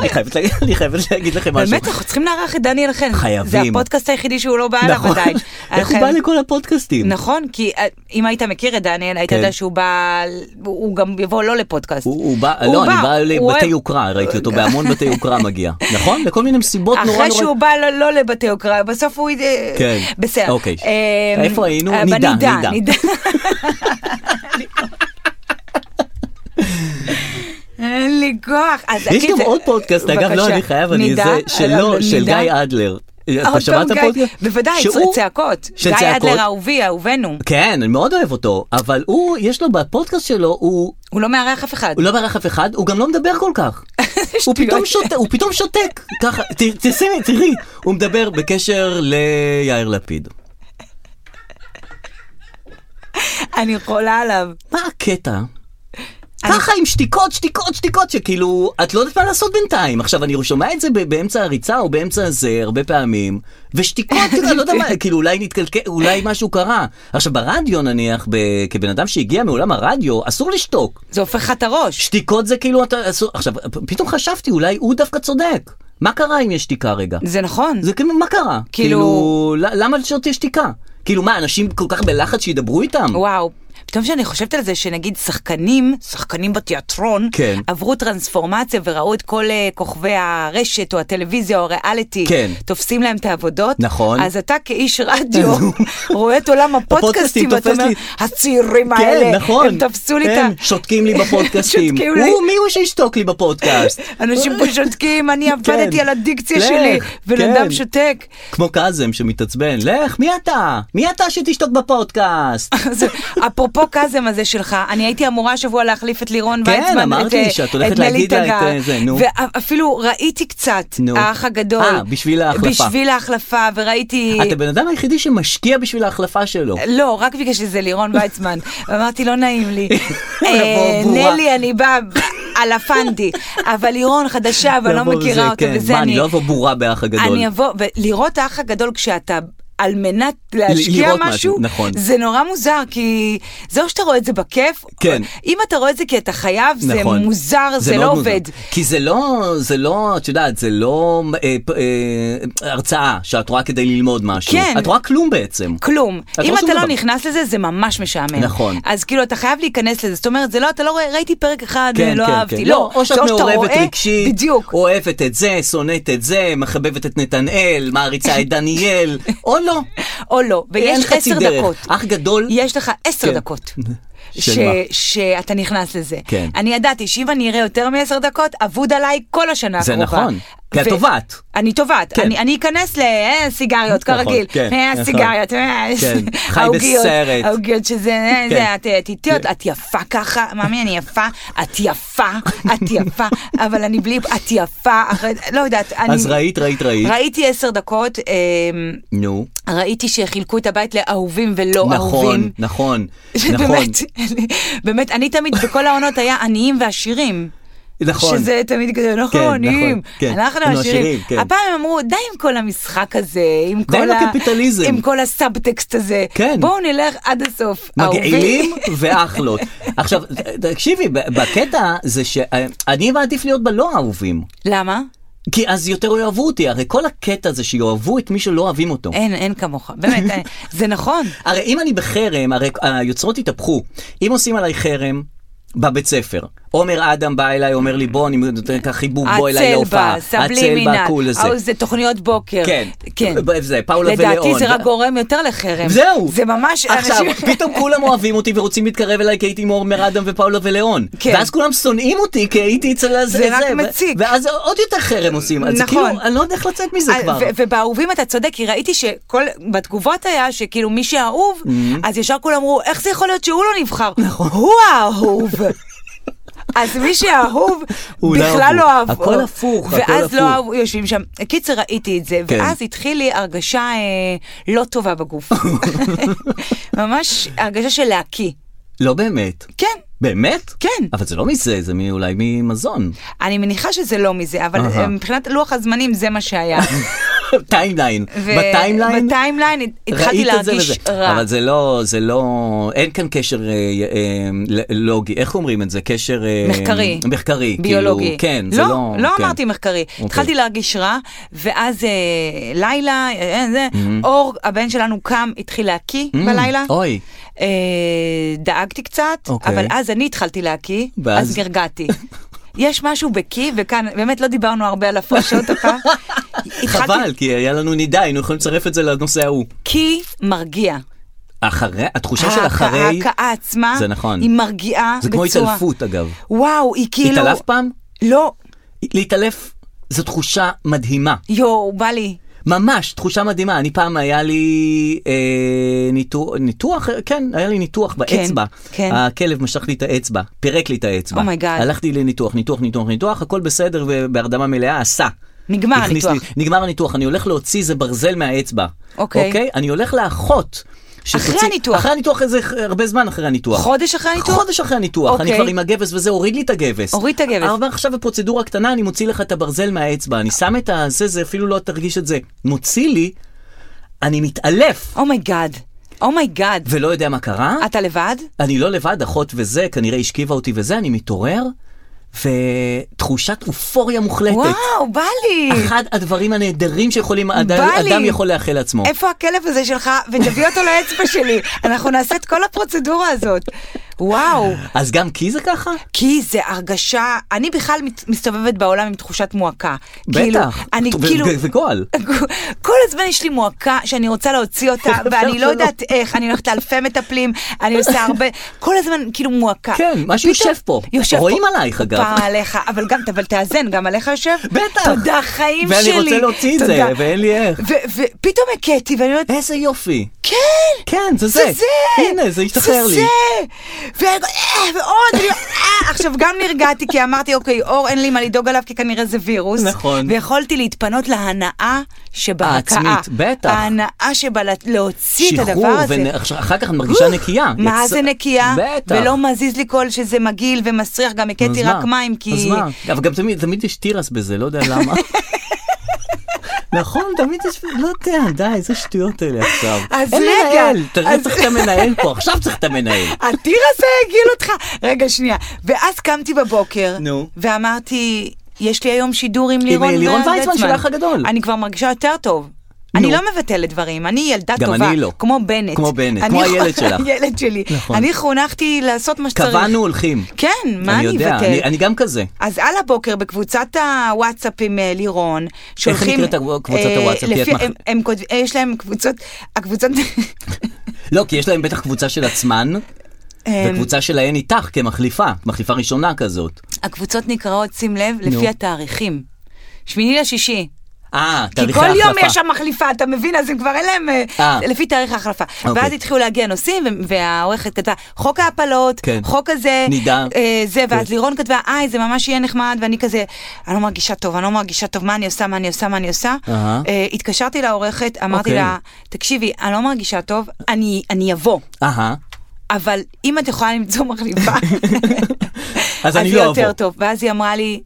אני חייבת להגיד- אני חייבת להגיד לכם משהו.
באמת, אנחנו צריכים לארח את דניאל חן.
חייבים.
זה הפודקאסט היחידי שהוא לא בא אליו
נכון.
עדיין.
איך הוא
לכן-
בא לכל הפודקאסטים?
נכון, כי אה, אם היית מכיר את דניאל, היית
כן.
יודע שהוא בא, הוא גם יבוא לא לפודקאסט.
הוא הוא בא,
הוא
לא, אני בא
הוא
לבתי
אוהב-
יוקרה, ראיתי אותו בהמון בתי יוקרה מגיע. נכון? לכל מיני מסיבות נורא נורא...
אחרי שהוא בא לא- לא לבתי יוקרה, בסוף הוא... אה,
כן.
בסדר.
אוקיי.
אה,
איפה היינו?
אה,
נידע,
בנידע,
נידע.
נידע. אין לי כוח. אז
יש
תגיד,
גם
זה-
עוד פודקאסט, אגב, לא,
בבקשה.
אני חייב, אני
נידע,
זה, שלו,
אה,
של
נידע.
גיא אדלר. אתה
עוד
שמעת
פעם גיא-
פודקאסט?
בוודאי,
שהוא-
צעקות.
של
גיא
צעקות.
אדלר אהובי, אהובנו.
כן, אני מאוד אוהב אותו, אבל הוא, יש לו בפודקאסט שלו, הוא
הוא לא מארח אף אחד.
הוא לא מארח אף אחד, הוא גם לא מדבר כל כך.
אה,
הוא פתאום שותק, הוא פתאום שותק, ככה, ת- תשימי, תראי, הוא מדבר בקשר ליאיר לפיד.
אני חולה עליו.
מה הקטע?
אני-
ככה עם שתיקות, שתיקות, שתיקות, שכאילו, את לא יודעת מה לעשות בינתיים. עכשיו, אני שומע את זה ב- באמצע הריצה או באמצע זה הרבה פעמים, ושתיקות, אתה יודע, לא יודע מה, כאילו, אולי נתקלקל, אולי משהו קרה. עכשיו, ברדיו נניח, ב- כבן אדם שהגיע מעולם הרדיו, אסור לשתוק.
זה הופך לך את הראש.
שתיקות זה כאילו, אתה, אסור- עכשיו, פ- פתאום חשבתי, אולי הוא דווקא צודק. מה קרה אם יש שתיקה רגע?
זה נכון.
זה כאילו, מה קרה?
כאילו-
כאילו, ל- למה שלא תהיה שתיקה? כאילו, מה, אנשים כל כך בלחץ שידברו איתם?
וואו. פתאום שאני חושבת על זה שנגיד שחקנים, שחקנים בתיאטרון,
כן.
עברו טרנספורמציה וראו את כל uh, כוכבי הרשת או הטלוויזיה או הריאליטי,
כן.
תופסים להם את העבודות,
נכון.
אז אתה כאיש רדיו רואה את עולם הפודקאסטים,
הפודקאסטים
ואתה
תופס
אומר,
לי.
הצעירים
כן,
האלה,
נכון.
הם תפסו לי
הם
את ה...
שותקים לי בפודקאסטים.
שותקים לי.
הוא, מי הוא שישתוק לי בפודקאסט?
אנשים פה שותקים, אני עבדתי
כן.
על הדיקציה
לך,
שלי, בן אדם
כן.
שותק.
כמו קאזם שמתעצבן, לך, מי אתה? מי אתה שתשתוק בפודקאסט?
אז אפרופו קאזם הזה שלך, אני הייתי אמורה השבוע להחליף את לירון
כן,
ויצמן,
אמרתי
את,
שאת הולכת
את מלי
להגיד לה את,
תגר,
אה, זה, נו.
ואפילו ראיתי קצת,
נו.
האח הגדול.
אה, בשביל ההחלפה.
בשביל ההחלפה, וראיתי...
אתה בן אדם היחידי שמשקיע בשביל ההחלפה שלו.
לא, רק בגלל שזה לירון ויצמן. אמרתי, לא נעים לי. אה,
לבוא בורה.
נלי, אני באה על הפנדי, אבל לירון חדשה, ואני לא
לבוא וזה,
מכירה אותה,
כן.
וזה
מה,
אני...
אני לא אבוא בורה באח הגדול.
אני אבוא, ולראות האח הגדול כשאתה... על מנת להשקיע
לראות משהו,
משהו,
נכון.
זה נורא מוזר, כי זה או שאתה רואה את זה בכיף,
כן.
או- אם אתה רואה את זה כי אתה חייב, זה
נכון.
מוזר, זה לא
מאוד מוזר.
עובד.
כי זה לא, זה לא, את יודעת, זה לא אה, פ- אה, הרצאה שאת רואה כדי ללמוד משהו.
כן.
את רואה כלום בעצם.
כלום.
לא
אם
שום
אתה לא
דבר.
נכנס לזה, זה ממש משעמם.
נכון.
אז כאילו, אתה חייב להיכנס לזה. זאת אומרת, זה לא, אתה לא רואה, ראיתי פרק אחד,
כן,
לא
כן,
אהבתי.
כן. לא, או
זה
שאת מעורבת
רואה-
רגשית,
בדיוק.
אוהבת את זה, שונאת את זה, מחבבת את נתנאל, מעריצה את דניאל, או לא.
או לא.
אין
ויש
חצי
עשר
דרך.
דקות.
אח גדול.
יש לך עשר
כן.
דקות.
של
ש-
מה?
שאתה נכנס לזה.
כן.
אני ידעתי שאם אני אראה יותר מעשר דקות, אבוד עליי כל השנה
זה
הקרובה.
נכון, כי את
ו-
תובעת.
אני תובעת.
כן.
אני אני אכנס לסיגריות,
נכון,
כרגיל.
כן,
אה,
נכון.
סיגריות, אה,
כן, חי
העוגיות,
בסרט.
העוגיות שזה, אה,
כן.
זה, את אה, את איתי, את- את יפה ככה, מאמי, אני יפה, את יפה, את יפה, אבל אני בלי, את יפה, אחרי- לא יודעת, אני...
אז ראית, ראית, ראית.
ראיתי עשר דקות. אמ,
נו.
ראיתי שחילקו את הבית לאהובים ולא
נכון,
לא אהובים.
נכון, נכון.
שבאמת, באמת, אני תמיד בכל העונות היה עניים ועשירים.
נכון.
שזה תמיד כזה, אנחנו
כן,
עניים,
נכון, כן.
אנחנו
אנחנו
עשירים.
עשירים, כן.
הפעם הם אמרו, די עם כל המשחק הזה, עם
די עם
כל
הקפיטליזם."
עם כל הסאבטקסט הזה.
כן.
בואו נלך עד הסוף.
מגעילים
אהובים.
ואחלות. עכשיו, תקשיבי, בקטע זה שאני מעדיף להיות בלא אהובים.
למה?
כי אז יותר יאהבו אותי, הרי כל הקטע זה שיאהבו את מי שלא אוהבים אותו.
אין, אין כמוך. באמת, אין. זה נכון.
הרי אם אני בחרם, הרי היוצרות התהפכו. אם עושים עליי חרם בבית ספר, עומר אדם בא אליי, אומר לי, בוא, אני נותן לך חיבוק, בוא אליי
הצל
להופעה.
בה, סבלימינל,
הקול הזה.
אה, זה תוכניות בוקר.
כן.
כן.
ב- זה, פאולה
לדעתי
ולאון.
זה רק גורם יותר לחרם.
זהו.
זה ממש
עכשיו,
אנשים...
פתאום כולם אוהבים אותי ורוצים להתקרב אליי כי הייתי עם עומר אדם ופאולה ולאון.
כן.
ואז כולם שונאים אותי כי הייתי אצל הזה.
זה רק
ו-
מציק.
ואז עוד יותר חרם עושים. אז זה
נכון.
כאילו, אני לא יודע איך לצאת מזה
אה,
כבר.
ו- ובאהובים אתה צודק, כי ראיתי שכל, בתגובות היה שכאילו מי שאהוב,
Mm-hmm.
אז ישר כולם אמרו, איך זה יכול להיות שהוא לא נבחר?
נכון.
הוא האהוב. אז מי שאהוב,
הוא לא
בכלל לא
אהוב.
אהוב.
הכל הפוך, הכל
ואז לא
הפוך.
אהבו, יושבים שם. קיצר, ראיתי את זה,
כן.
ואז התחיל לי הרגשה אה, לא טובה בגוף. ממש הרגשה של להקיא.
לא באמת.
כן.
באמת?
כן.
אבל זה לא מזה, זה מ- אולי ממזון.
אני מניחה שזה לא מזה, אבל
אהה.
אה, מבחינת לוח הזמנים זה מה שהיה.
טיימליין.
ו-
בטיימליין?
בטיימליין התחלתי
ראית את זה
להרגיש
וזה.
רע.
אבל זה לא, זה לא, אין כאן קשר אה, אה, ל- לוגי, איך אומרים את זה? קשר... אה,
מחקרי.
מחקרי.
ביולוגי.
כאילו, כן,
לא,
זה לא...
לא
כן.
אמרתי מחקרי.
אוקיי.
התחלתי להרגיש רע, ואז אה, לילה, אה, זה,
Mm-hmm.
אור, הבן שלנו קם, התחיל להקיא
Mm,
בלילה.
אוי.
אה, דאגתי קצת,
אוקיי.
אבל אז אני התחלתי להקיא,
ואז?
אז נרגעתי. יש משהו בקיא, וכאן באמת לא דיברנו הרבה על הפרשות הפעם. התחלתי-
חבל, כי היה לנו נידה, היינו יכולים לצרף את זה לנושא ההוא.
קיא מרגיע.
אחרי, התחושה של
ההכאה-
אחרי,
ההכאה עצמה,
זה נכון.
היא מרגיעה
זה כמו
בצורה-
התעלפות אגב.
וואו, היא כאילו...
התעלפת פעם?
לא,
להתעלף זו תחושה מדהימה.
יואו, בא לי.
ממש, תחושה מדהימה. אני פעם היה לי אה, ניתוח, ניתוח, אה, כן, היה לי ניתוח באצבע.
כן.
הכלב משך לי את האצבע, פירק לי את האצבע.
Oh my God.
הלכתי לניתוח, ניתוח, ניתוח, ניתוח, הכל בסדר ובהרדמה מלאה, עשה.
נגמר
הכניס לי-
הניתוח.
נגמר הניתוח, אני הולך להוציא איזה ברזל מהאצבע.
אוקיי.
אוקיי? אני הולך לאחות. שתוציא-
אחרי הניתוח.
אחרי הניתוח, איזה הרבה זמן אחרי הניתוח.
חודש אחרי הניתוח?
חודש אחרי הניתוח. אני
אוקיי.
כבר עם הגבס וזה, הוריד לי את הגבס.
הוריד את הגבס.
אבל עכשיו בפרוצדורה קטנה, אני מוציא לך את הברזל מהאצבע. אני שם את הזה, זה אפילו לא תרגיש את זה. מוציא לי, אני מתעלף,
אומייגאד, אומייגאד.
ולא יודע מה קרה.
Oh אתה לבד?
אני לא לבד, אחות וזה, כנראה השכיבה אותי וזה, אני מתעורר, ותחושת אופוריה מוחלטת.
וואו, בא לי.
אחד הדברים הנהדרים שיכולים, אדם,
בא לי.
אדם יכול לאחל לעצמו.
איפה הכלב הזה שלך? ותביא אותו לאצבע שלי. אנחנו נעשה את כל הפרוצדורה הזאת. וואו.
אז גם כי זה ככה?
כי זה הרגשה, אני בכלל מת- מסתובבת בעולם עם תחושת מועקה. כאילו,
בטח.
אני
ו-
כאילו,
ו- וגועל.
כל הזמן יש לי מועקה שאני רוצה להוציא אותה, ואני לא
שלא.
יודעת איך, אני הולכת לאלפי מטפלים, אני עושה הרבה, כל הזמן כאילו מועקה.
כן, משהו
פתאום-
יושב פה.
יושב פה.
רואים עלייך, אגב.
פעם עליך, אבל גם, אבל תאזן, גם עליך יושב.
בטח.
תודה, חיים
ואני
שלי.
רוצה להוציא את זה,
תודה.
ואין לי איך. אה?
ו- ופתאום הכיתי, ואני אומרת,
איזה יופי.
כן!
כן, זה זה.
זה זה!
הנה, זה השתחרר לי.
זה זה! ו- אה, ועוד, אני- אה, עכשיו גם נרגעתי כי אמרתי, אוקיי, אור, אין לי מה לדאוג עליו כי כנראה זה וירוס.
נכון.
ויכולתי להתפנות להנאה שבהכאה.
העצמית, בטח.
ההנאה שבה לה- להוציא את הדבר
שחרור,
הזה.
ואחר כך את מרגישה
אוף,
נקייה.
מה
יצא-
זה נקייה?
בטח.
ולא מזיז לי קול שזה מגעיל ומסריח, גם
אז
הכיתי
מה?
רק מים, כי...
אז מה? אבל גם תמיד, תמיד יש תירס בזה, לא יודע למה. נכון, תמיד יש... לא יודע, די, איזה שטויות אלה עכשיו.
אז
אין
רגע,
מנהל, תראה,
אז-
צריך את המנהל פה, עכשיו צריך את המנהל.
הטיר הזה הגיל אותך. רגע, שנייה. ואז קמתי בבוקר,
נו. אה,
ואמרתי, יש לי היום שידור עם לירון
לירון
ועל
ויצמן, שלך הגדול.
אני כבר מרגישה יותר טוב.
נו.
אני לא מבטלת דברים, אני ילדה
גם
טובה,
אני לא.
כמו בנט.
כמו בנט,
אני-
כמו הילד שלך.
הילד שלי.
נכון.
אני חונכתי לעשות מה שצריך.
קבענו הולכים.
כן, מה אני
יודע,
אבטל?
אני- אני גם כזה.
אז על הבוקר בקבוצת הוואטסאפ עם אה, לירון, שולחים...
נקראת הקב- קבוצת
אה,
הוואטסאפ? כי את
לפי-
מח-
הם- הם כותב- אה, יש להם קבוצות... הקבוצות...
לא, כי יש להם בטח קבוצה של עצמן,
אה,
וקבוצה שלהן איתך כמחליפה, מחליפה ראשונה כזאת.
הקבוצות נקראות, שים לב,
נו.
לפי התאריכים. שמיני לשישי.
אה,
כי
תאריכי
כל
ההחלפה.
יום יש שם מחליפה, אתה מבין? אז הם כבר אין להם... אה,
אה.
לפי תאריך ההחלפה.
אוקיי.
ואז התחילו להגיע נושאים, ו- והעורכת כתבה, חוק ההפלות,
כן.
חוק הזה,
נידה.
אה, זה, ואז
כן.
לירון כתבה, איי, זה ממש יהיה נחמד, ואני כזה, אני לא מרגישה טוב, אני לא מרגישה טוב, מה אני עושה, מה אני עושה, מה אני עושה.
אהה.
אה, התקשרתי לעורכת, אמרתי
אוקיי.
לה, תקשיבי, אני לא מרגישה טוב, אני אני אבוא.
אהה.
אבל אם את יכולה למצוא מחליפה,
אז אני
היא
לא
יותר
אבוא.
טוב. ואז היא אמרה לי,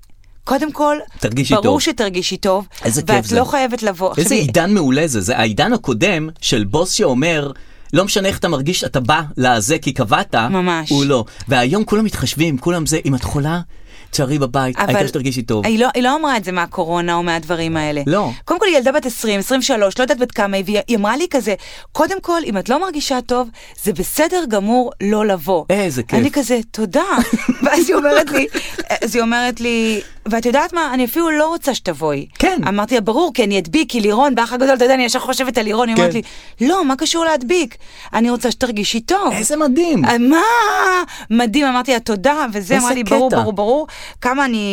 קודם כל,
תרגישי
ברור
טוב."
שתרגישי טוב,
איזה כיף
ואת
זה.
לא חייבת לבוא. עכשיו,
איזה
היא-
עידן מעולה זה, זה העידן הקודם של בוס שאומר, לא משנה איך אתה מרגיש, אתה בא לזה כי קבעת,
ממש.
הוא לא. והיום כולם מתחשבים, כולם זה, אם את חולה... תשארי בבית,
אבל-
העיקר שתרגישי טוב.
היא לא, היא לא אמרה את זה מהקורונה או מהדברים האלה.
לא.
קודם כל, היא ילדה בת 20, 23, לא יודעת בת כמה היא, והיא היא אמרה לי כזה, קודם כל, אם את לא מרגישה טוב, זה בסדר גמור לא לבוא.
איזה כיף.
אני כזה, תודה. ואז היא אומרת לי, אז היא אומרת לי, ואת יודעת מה, אני אפילו לא רוצה שתבואי.
כן.
אמרתי לה, ברור, כי אני אדביק, כי לירון, באח הגדול, אתה יודע, אני ישר חושבת על לירון, היא
כן.
אומרת לי, לא, מה קשור להדביק? אני רוצה שתרגישי טוב.
איזה מדהים.
אה, מה? מדהים, אמרתי לה תודה, וזה,
איזה
אמרה לי,
קטע.
ברור, ברור, ברור, כמה אני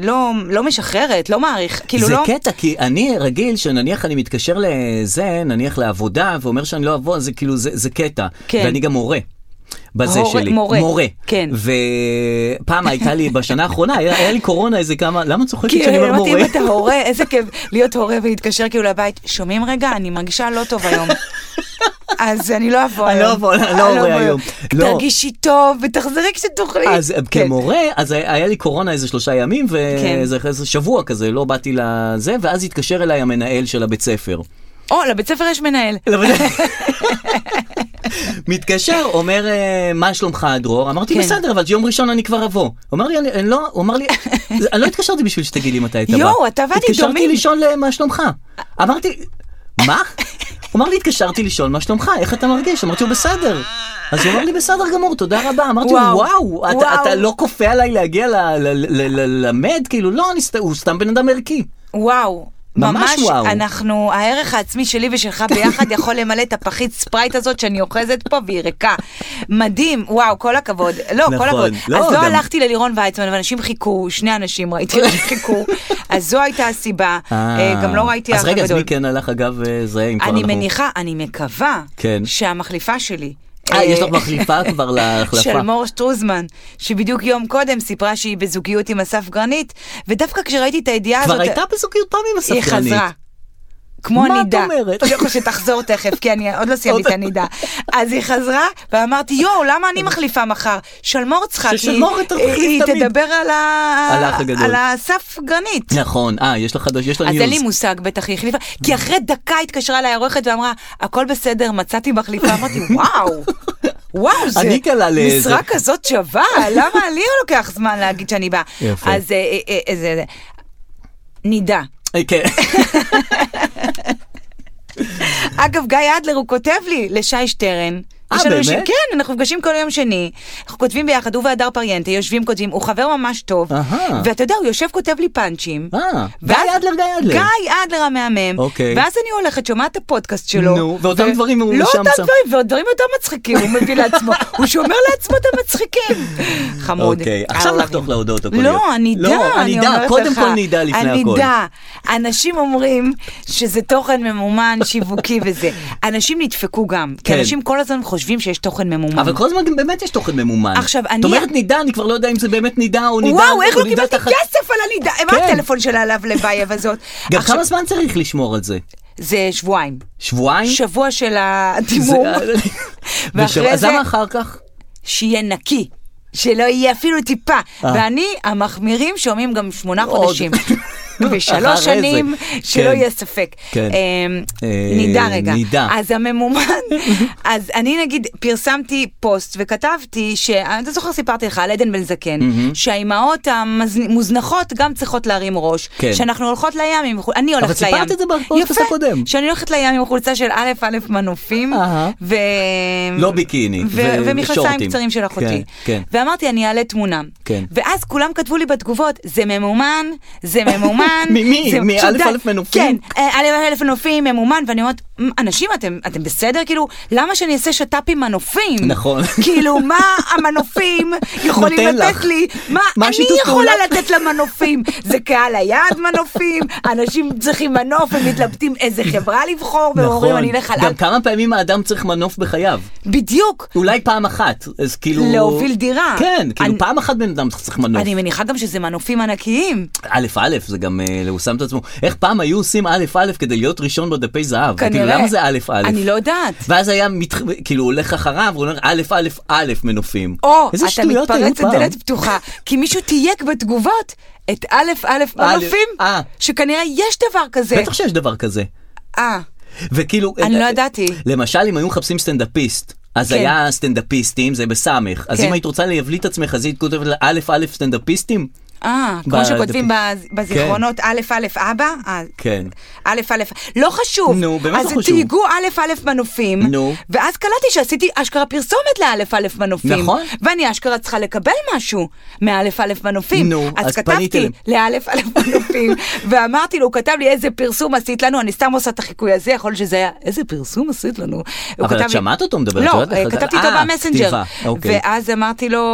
אה, לא, לא משחררת, לא מעריך, כאילו
זה
לא...
קטע, כי אני רגיל שנניח אני מתקשר לזה, נניח לעבודה, ואומר שאני לא אבוא, זה כאילו, זה, זה קטע.
כן.
ואני גם מורה. בזה
הורה-
שלי.
מורה.
מורה.
כן.
ופעם הייתה לי, בשנה האחרונה, היה, היה לי קורונה איזה כמה, למה את צוחקת
כי
שאני אומר
אמרתי,
מורה?
אם אתה הורה, איזה כיף להיות הורה ולהתקשר כאילו לבית, שומעים רגע, אני מרגישה לא טוב היום. אז אני לא אבוא היום.
אני לא אבוא, לא
אני
הורה היום. לא.
תרגישי טוב ותחזרי כשתוכלי.
אז אה,
כן.
כמורה, אז היה לי קורונה איזה שלושה ימים,
כן.
ואיזה איזה שבוע כזה, לא באתי לזה, ואז התקשר אליי המנהל של הבית ספר.
או, לבית ספר יש מנהל.
לא בדיוק. מתקשר, אומר, אה, מה שלומך, דרור? אמרתי,
כן.
בסדר, אבל יום ראשון אני כבר אבוא. אומר לי, "אני- אני לא, הוא אמר לי, אני לא התקשרתי בשביל שתגידי מתי אתה בא.
יואו, אתה ואני
התקשרתי
דומים.
לשאול אה, מה שלומך. אמרתי, מה? הוא אמר לי, התקשרתי לשאול מה שלומך, איך אתה מרגיש? אמרתי לו, בסדר. אז הוא אמר לי, בסדר גמור, תודה רבה. אמרתי לו,
וואו,
וואו, אתה-
וואו.
אתה לא כופה עליי להגיע ל- ל- ל- ל- ללמד? כאילו, לא, אני סת- הוא סתם בן אדם ערכי.
וואו.
ממש וואו.
אנחנו, הערך העצמי שלי ושלך ביחד יכול למלא את הפחית ספרייט הזאת שאני אוחזת פה והיא ריקה. מדהים, וואו, כל הכבוד. לא,
נכון,
כל הכבוד.
לא,
אז לא
גם-
הלכתי ללירון ויצמן, ואנשים חיכו, שני אנשים ראיתי אותם חיכו, אז זו הייתה הסיבה. אה, גם לא ראיתי
אז
האח
רגע, אז
הגדול.
מי כן הלך, אגב, אה, זה, אם כבר
אני
אנחנו...
מניחה, אני מקווה,
כן.
שהמחליפה שלי...
אה, יש לך
אה,
מחליפה כבר להחלפה.
של מור שטרוזמן, שבדיוק יום קודם סיפרה שהיא בזוגיות עם אסף גרנית, ודווקא כשראיתי את הידיעה הזאת...
כבר הייתה בזוגיות פעם עם
היא
הספרנית.
חזרה. כמו
מה את
נידה.
אומרת?
אני חושבת שתחזור תכף, כי אני עוד לא סיימתי את
עוד-
הנידה. אז היא חזרה, ואמרתי, יואו, למה אני מחליפה מחר? שלמור צריכה, כי
ששלמור תחליף
היא
תמיד."
תדבר על ה-
על האח הגדול.
על הסף גרנית.
נכון, אה, יש לה חדש, יש לה
אז
ניוז.
אין לי מושג, בטח היא החליפה, כי אחרי דקה התקשרה אליי העורכת ואמרה, הכל בסדר, מצאתי מחליפה, אמרתי, וואו, וואו, זה
אני קלה לאיזה-
משרה כזאת שווה, למה לי לא לוקח זמן להגיד שאני באה?
יפה.
אז אה, אה, אה, אה, זה... זה- נידה.
אה, כן.
אגב, גיא אדלר, הוא כותב לי, לשי שטרן.
אה,
יש לנו
באמת?
יושבים- כן, אנחנו נפגשים כל יום שני, אנחנו כותבים ביחד, הוא והדר פריאנטה, יושבים, כותבים, הוא חבר ממש טוב,
אהה.
ואתה יודע, הוא יושב, כותב לי פאנצ'ים.
אה, גיא
ואז-
אדלר, גיא אדלר.
גיא אדלר המהמם.
אוקיי.
ואז אני הולכת, שומעת את הפודקאסט שלו.
נו, ואותם דברים הוא
לא
שם
אותם
שם.
דברים, ועוד דברים יותר מצחיקים, הוא מביא לעצמו, הוא שומר לעצמו את המצחיקים. חמוד.
אוקיי, עכשיו
I love
נחתוך
him.
להודעות הקוליות.
לא, אני אדע,
לא, אני
אני
אדע,
אומרת לך.
קודם כל אני אדע לפני
אני
הכל.
אדע. אנשים אומרים שזה תוכן ממומן, שיווקי וזה. אנשים נדפקו גם, כי
כן.
אנשים כל הזמן חושבים שיש תוכן ממומן.
אבל כל הזמן גם באמת יש תוכן ממומן.
עכשיו, אני-
את אומרת נידה, אני כבר לא יודע אם זה באמת נידה או נידה.
וואו,
או
איך לא
נידה
קיבלתי
תחת-
כסף על הנידה? מה
כן.
הטלפון של עליו לבייב הזאת?
גם
עכשיו,
כמה זמן צריך לשמור על זה?
זה שבועיים.
שבועיים?
שבוע של
אה? זה- אה,
הדימום,
ושבוע-
ואחרי
אז
זה
למה אחר כך?
שיהיה נקי. שלא יהיה אפילו טיפה. ואני, המחמירים שומעים גם שמונה
אה. עוד.
חודשים.
אחרי
ושלוש
זה.
שנים, שלא
כן.
יהיה ספק.
כן.
אמ,
אה,
נידע רגע.
נידע.
אז הממומן, אז אני נגיד פרסמתי פוסט וכתבתי, ש- אתה זוכר סיפרתי לך על עדן בן זקן, שהאימהות המוזנחות גם צריכות להרים ראש.
כן.
שאנחנו הולכות לים, עם חול- אני הולכת לים.
סיפרת את זה בפודקאסט
יפה,
הקודם.
שאני הולכת לים עם חולצה של א' א' מנופים,
אהה.
ו...
לא ביקיני,
ו-
ו-
ומכנסיים
ושורטים.
קצרים של אחותי.
כן,
ואמרתי, אני אעלה תמונה.
כן.
ואז כולם כתבו לי בתגובות, זה ממומן, זה ממומן.
ממי?
זה-
מאלף
שודד."
אלף מנופים?
כן, אה, אלף אלף מנופים, ממומן, ואני אומרת, "מ, אנשים, אתם אתם בסדר? כאילו, למה שאני אעשה שת"פ עם מנופים?
נכון.
כאילו, מה המנופים יכולים
נותן
לתת
לך.
לי? מה
מה
אני
השיתוף
יכולה
פעולה?
לתת למנופים? זה קהל היעד מנופים, אנשים צריכים מנוף, הם מתלבטים איזה חברה לבחור, והם אומרים, אני אלך על...
נכון. גם כמה פעמים האדם צריך מנוף בחייו?
בדיוק.
אולי פעם אחת, אז כאילו...
להוביל דירה.
כן, כאילו
אני-
פעם אחת בן אדם צריך מנוף.
אני מניחה גם שזה מנופים ענקיים.
א' א', זה גם, אה, הוא שם את עצמו. איך פעם היו עושים א' א' כדי להיות ראשון בדפי זהב?
כנראה.
כאילו, למה זה א' א'?
אני לא יודעת.
ואז היה, מת... כאילו, הוא הולך אחריו, הוא אומר א' א' א' מנופים.
או,
איזה
אתה
שטויות היו
מתפרץ
פעם.
לדלת פתוחה, כי מישהו תייק בתגובות את א' א' מנופים,
אה.
שכנראה יש דבר כזה.
בטח שיש דבר כזה.
אה,
וכאילו...
אני
אה,
לא
אה,
ידעתי.
למשל, אם היו מחפשים סטנדאפיסט, אז
כן.
היה סטנדאפיסטים, זה בסמך. אז
כן.
אם היית רוצה להבליט את עצמך, אז היית כותבת לה, א' א' סטנדאפיסטים?
אה, כמו
ב-
שכותבים בז- בזיכרונות א' א' אבא? אה,
כן.
א' א', לא חשוב.
נו, באמת לא
אז
חשוב.
תהיגו א' א' מנופים,
נו.
ואז קלטתי שעשיתי אשכרה פרסומת לא' א' מנופים.
נכון.
ואני אשכרה צריכה לקבל משהו מא' א' מנופים.
נו,
אז
אז פנית
כתבתי
אליהם.
לא' א' מנופים, ואמרתי לו, הוא כתב לי איזה פרסום עשית לנו, אני סתם עושה את החיקוי הזה, יכול להיות שזה היה, איזה פרסום עשית לנו. הוא
אבל
כתב
את
לי-
שמעת אותו מדבר, את
לא,
יודעת איך
אה,
אתה-
כתבתי אותו
אה,
במסנג'ר.
כתיבה, אוקיי.
ואז אמרתי לו,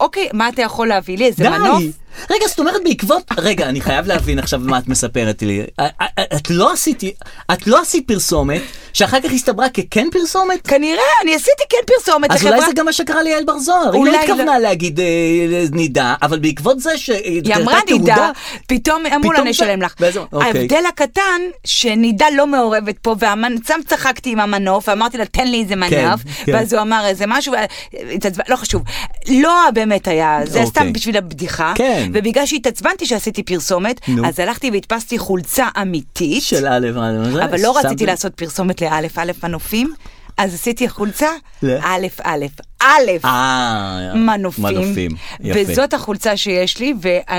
אוקיי, מה אתה יכול להביא לי? איזה מנוף?
די! רגע, זאת אומרת בעקבות... רגע, אני חייב להבין עכשיו מה את מספרת לי. את- את לא עשיתי... את לא עשית פרסומת, שאחר כך הסתברה ככן פרסומת?
כנראה, אני עשיתי כן פרסומת
אז אולי
לחברה
זה גם מה שקרה ליעל בר זוהר, היא
אולי
לא
לא.
התכוונה להגיד אה, נידה, אבל בעקבות זה
היא
שקרתה
אמרה נידה,
תעודה,
פתאום אמרו לה
פתאום
נשלם
זה-
לך.
ואז- אוקיי.
ההבדל הקטן, שנידה לא מעורבת פה, והמצם צחקתי עם המנוף, ואמרתי לה, תן לי איזה מנוף,
כן.
ואז הוא אמר איזה משהו, וה- התעצבן- לא חשוב. לא באמת היה, זה
אוקיי.
סתם בשביל הבדיחה.
כן.
ובגלל שהתעצבנתי שעשיתי פרסומת,
נו.
אז הלכתי והדפסתי חולצה אמיתית,
של א', א', זה,
אבל לא
שמת-
רציתי לעשות פרסומת לאלף אלף מנופים, אז עשיתי חולצה
ל-
א' א' א'.
אה,
מנופים.
מנופים, יפה.
וזאת החולצה שיש לי,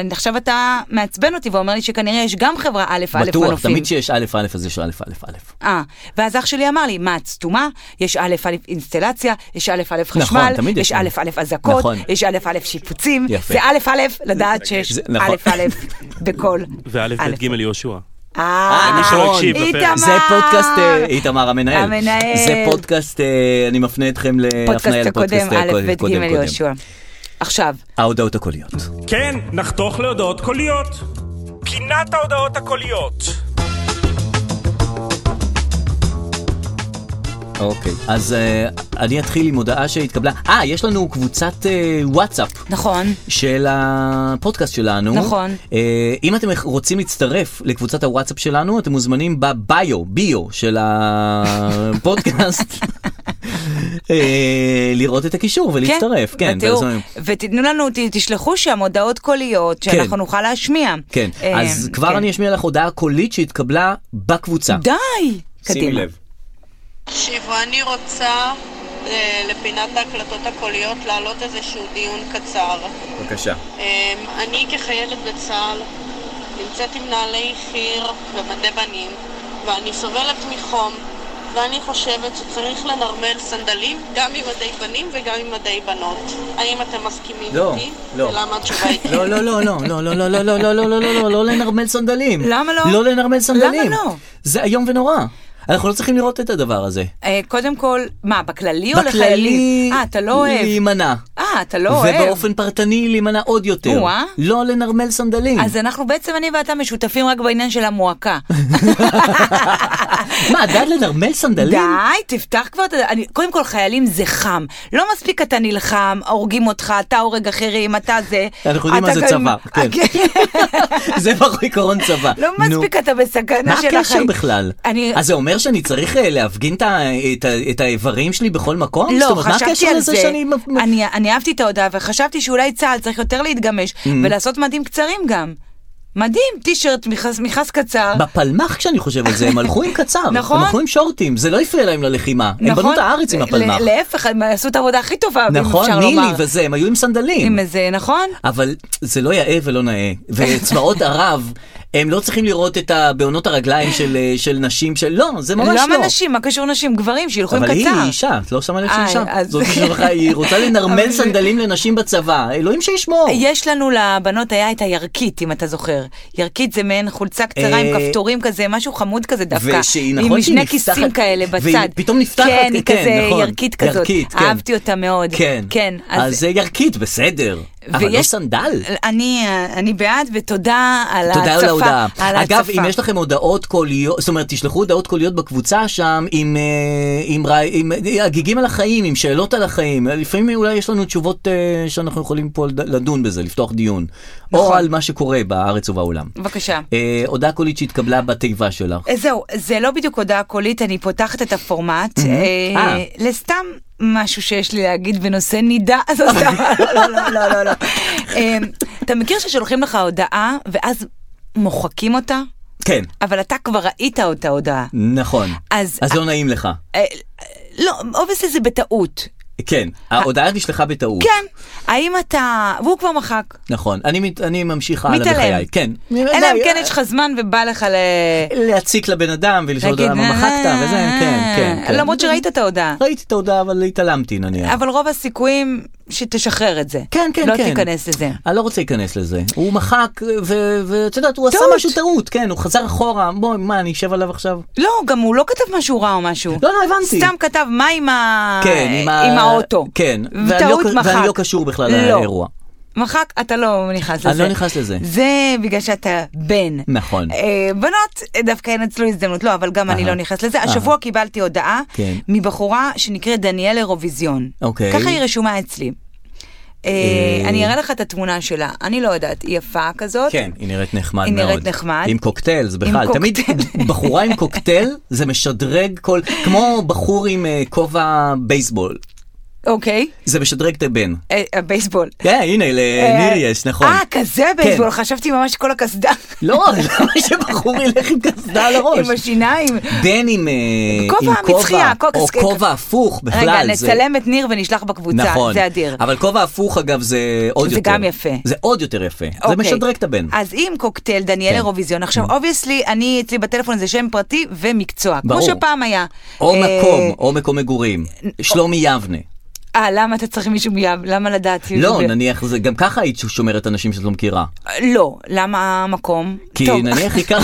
ועכשיו אתה מעצבן אותי ואומר לי שכנראה יש גם חברה א' א' מנופים.
בטוח, תמיד שיש א', א', אז יש א', א', א'.
אה, ואז אח שלי אמר לי, מה, את סתומה? יש א' א' אינסטלציה, יש א' א' חשמל,
נכון, תמיד יש.
יש א' א' אזעקות,
נכון.
יש א' א' שיפוצים,
יפה.
זה א' א' לדעת שיש
זה- נכון.
א' א' בכל.
וא' ב' ג' יהושע.
אה,
למי שלא
הקשיב בפרק.
איתמר!
זה פודקאסט, אה, איתמר המנהל.
המנהל.
זה פודקאסט, אה, אני מפנה אתכם להפניה
פודקאסט
לפודקאסט
הקודם, א'
הקודם,
ב' ג'
קודם, קודם.
יהושע. עכשיו,
ההודעות הקוליות.
כן, נחתוך להודעות קוליות. פינת ההודעות הקוליות.
אוקיי, אז אה, אני אתחיל עם הודעה שהתקבלה. אה, יש לנו קבוצת אה, וואטסאפ.
נכון,
של הפודקאסט שלנו.
נכון.
אה, אם אתם רוצים להצטרף לקבוצת הוואטסאפ שלנו, אתם מוזמנים בביו, ביו של הפודקאסט, אה, לראות את הקישור ולהצטרף. כן,
בתיאור.
ואז-
ותתנו לנו, ת- תשלחו שם הודעות קוליות
כן.
שאנחנו נוכל להשמיע.
כן,
אה,
אז כבר
כן.
אני אשמיע לך הודעה קולית שהתקבלה בקבוצה.
די!
שימי
קדימה.
לב.
תקשיבו, אני רוצה אה, לפינת ההקלטות הקוליות להעלות איזשהו דיון קצר.
בבקשה.
אה, אני כחיילת בצה"ל נמצאת עם נעלי חי"ר ומדי בנים, ואני סובלת מחום, ואני חושבת שצריך לנרמל סנדלים גם עם מדי בנים וגם עם מדי בנות. האם אתם מסכימים
לא,
איתי?
לא.
ולמה התשובה היא כן?
לא, לא, לא, לא, לא, לא, לא, לא, לא, לא, לא, לא, לא, לא, לא לנרמל סנדלים.
למה לא?
לא לנרמל סנדלים.
למה לא?
זה איום ונורא. אנחנו לא צריכים לראות את הדבר הזה.
אה, קודם כל, מה, בכללי או לחיילים?
בכללי,
אה, אתה לא אוהב.
להימנע.
אה, אתה לא אוהב.
ובאופן פרטני להימנע עוד יותר.
או-אה.
לא לנרמל סנדלים.
אז אנחנו בעצם, אני ואתה משותפים רק בעניין של המועקה.
מה, את בעד לנרמל סנדלים?
די, תפתח כבר את ה... אני- קודם כל, חיילים זה חם. לא מספיק אתה נלחם, הורגים אותך, אתה הורג אחרים, אתה זה.
אנחנו יודעים מה
אתה
זה
גם- אה,
צבא, כן. זה בעיקרון צבא.
לא
נו.
מספיק אתה בסכנה
מה
של החיים.
הקשר בכלל?
אני...
אז זה אומר שאני צריך אה, להפגין את ה- את ה- את האיברים שלי בכל מקום? זאת
לא,
אומרת, מה
חשבתי
הקשר
על
לזה
זה.
שאני מפ- מפ-
אני, אני אהבתי את ההודעה וחשבתי שאולי צה"ל צריך יותר להתגמש
Mm.
ולעשות מדים קצרים גם. מדהים, טישרט, מכס, מכס קצר.
בפלמ"ח כשאני חושב על זה, הם הלכו עם קצר,
נכון.
הם הלכו עם שורטים, זה לא הפריע להם ללחימה, הם
נכון?
בנו את הארץ עם
ל-
הפלמ"ח,
להפך, הם עשו את העבודה הכי טובה, אם
נכון,
אפשר
נילי
לומר.
וזה, הם היו עם סנדלים,
עם איזה, נכון?
אבל זה לא יאה ולא נאה, וצבאות ערב, הם לא צריכים לראות את ה- בעונות הרגליים של, אה, של נשים, של... לא, זה ממש לא.
למה נשים? מה קשור נשים? גברים, שילכו עם
אבל
קצר.
היא אישה, את לא שמה לב שהיא
אה,
אישה.
אז-
זאת פשוט לך, היא רוצה לנרמל
אבל-
סנדלים לנשים בצבא, אלוהים שישמור.
יש לנו לבנות היה את הירקית, אם אתה זוכר. ירקית זה מעין חולצה קצרה עם
אה,
כפתורים כזה, משהו חמוד כזה דווקא.
ושהיא- נכון
עם
שהיא
שני
נפתחת-
כיסים כאלה בצד.
והיא פתאום נפתחת,
כן, היא
כן,
כזה
נכון.
ירקית כזאת.
ירקית, כן.
אהבתי אותה מאוד.
כן.
כן,
אז
אז...
זה ירקית, בסדר. אבל לא
ויש-
סנדל.
אני, אני בעד, ותודה על ההצפה.
תודה על ההודעה.
על
אגב,
ההצפה.
אם יש לכם הודעות קוליות, זאת אומרת, תשלחו הודעות קוליות בקבוצה שם עם, אה, עם, רע- עם, אה, הגיגים על החיים, עם שאלות על החיים. לפעמים אולי יש לנו תשובות אה, שאנחנו יכולים פה לד- לדון בזה, לפתוח דיון. או
נכון.
על מה שקורה בארץ ובעולם.
בבקשה.
אה, הודעה קולית שהתקבלה בתיבה שלך.
אז זהו, זה לא בדיוק הודעה קולית, אני פותחת את הפורמט. אה,
אה.
לסתם משהו שיש לי להגיד בנושא נידה. אז לא, סתם, לא, לא, לא, לא, לא. אה, אתה מכיר ששולחים לך הודעה, ואז מוחקים אותה,
כן,
אבל אתה כבר ראית אותה הודעה.
נכון.
אז-
אז לא נעים לך.
אה, לא, אובייסלי זה בטעות.
כן, ההודעה נשלחה בטעות.
כן. האם אתה... והוא כבר מחק.
נכון, אני, מת- אני ממשיך הלאה
מתעלם.
בחיי, כן.
אלא אם
לא,
כן יש לך זמן ובא לך ל...
להציק לבן אדם ולשאול אותו
להגיד,
למה מחקת
"אה,
וזה, כן, כן. כן.
למרות שראית את ההודעה.
ראיתי את ההודעה, אבל התעלמתי נניח.
אבל רוב הסיכויים שתשחרר את זה.
כן, כן,
לא
כן.
תיכנס לזה.
אני לא רוצה להיכנס לזה. הוא מחק, ו- ואת יודעת, הוא עשה
טעות.
משהו טעות, כן, הוא חזר אחורה, בואי, מה, אני אשב עליו עכשיו?
לא, גם הוא לא כתב משהו רע או משהו.
לא, לא, הבנתי.
סתם כתב מה עם, ה...
כן,
אה, עם האוטו.
כן, ואני לא,
טעות
ק-
מחק.
ואני לא קשור בכלל
לא.
לאירוע.
מחק, אתה לא נכנס לזה.
אני לא נכנס לזה.
זה בגלל שאתה בן.
נכון.
אה, בנות אה, דווקא ינצלו הזדמנות, לא, אבל גם אני
אהה.
לא נכנס לזה. השבוע קיבלתי הודעה
כן.
מבחורה שנקראת דניאל אירוויזיון.
אוקיי.
ככה היא רשומה אצלי. אה,
אה.
אני אראה לך את התמונה שלה, אני לא יודעת, היא יפה כזאת.
כן, היא נראית נחמד
היא
מאוד.
נראית נחמד.
עם קוקטייל, זה בכלל,
עם
תמיד
קוקטייל.
בחורה עם קוקטייל, זה משדרג כל, כמו בחור עם אה, כובע בייסבול,
אוקיי,
זה משדרג את הבן.
אה, הבייסבול.
כן, הנה, לניר יש, נכון.
אה, כזה בייסבול,
כן.
חשבתי ממש כל הקסדה.
לא, למה שבחור ילך עם קסדה על הראש?
עם השיניים.
בן עם אה,
כובע
עם
המצחייה, קוקס-
או
כן,
כובע הפוך בכלל.
רגע,
זה-
נצלם את ניר ונשלח בקבוצה,
נכון.
זה אדיר.
אבל כובע הפוך, אגב, זה עוד
זה
יותר.
גם יפה.
זה עוד יותר יפה. זה
אוקיי.
משדרג את הבן.
אז אם קוקטייל, דניאל
כן.
אירוויזיון, עכשיו אובייסלי, אני אצלי בטלפון זה שם פרטי ומקצוע, כמו
ברור.
שפעם היה.
או
אה,
מקום, או מקום מגורים. שלומי יבנה.
אה, למה אתה צריך מישהו מיהו? למה לדעת? מי
לא,
זה?
נניח, זה- גם ככה היית שומרת אנשים שאת לא מכירה.
לא, למה המקום?
כי
טוב.
נניח הכרת...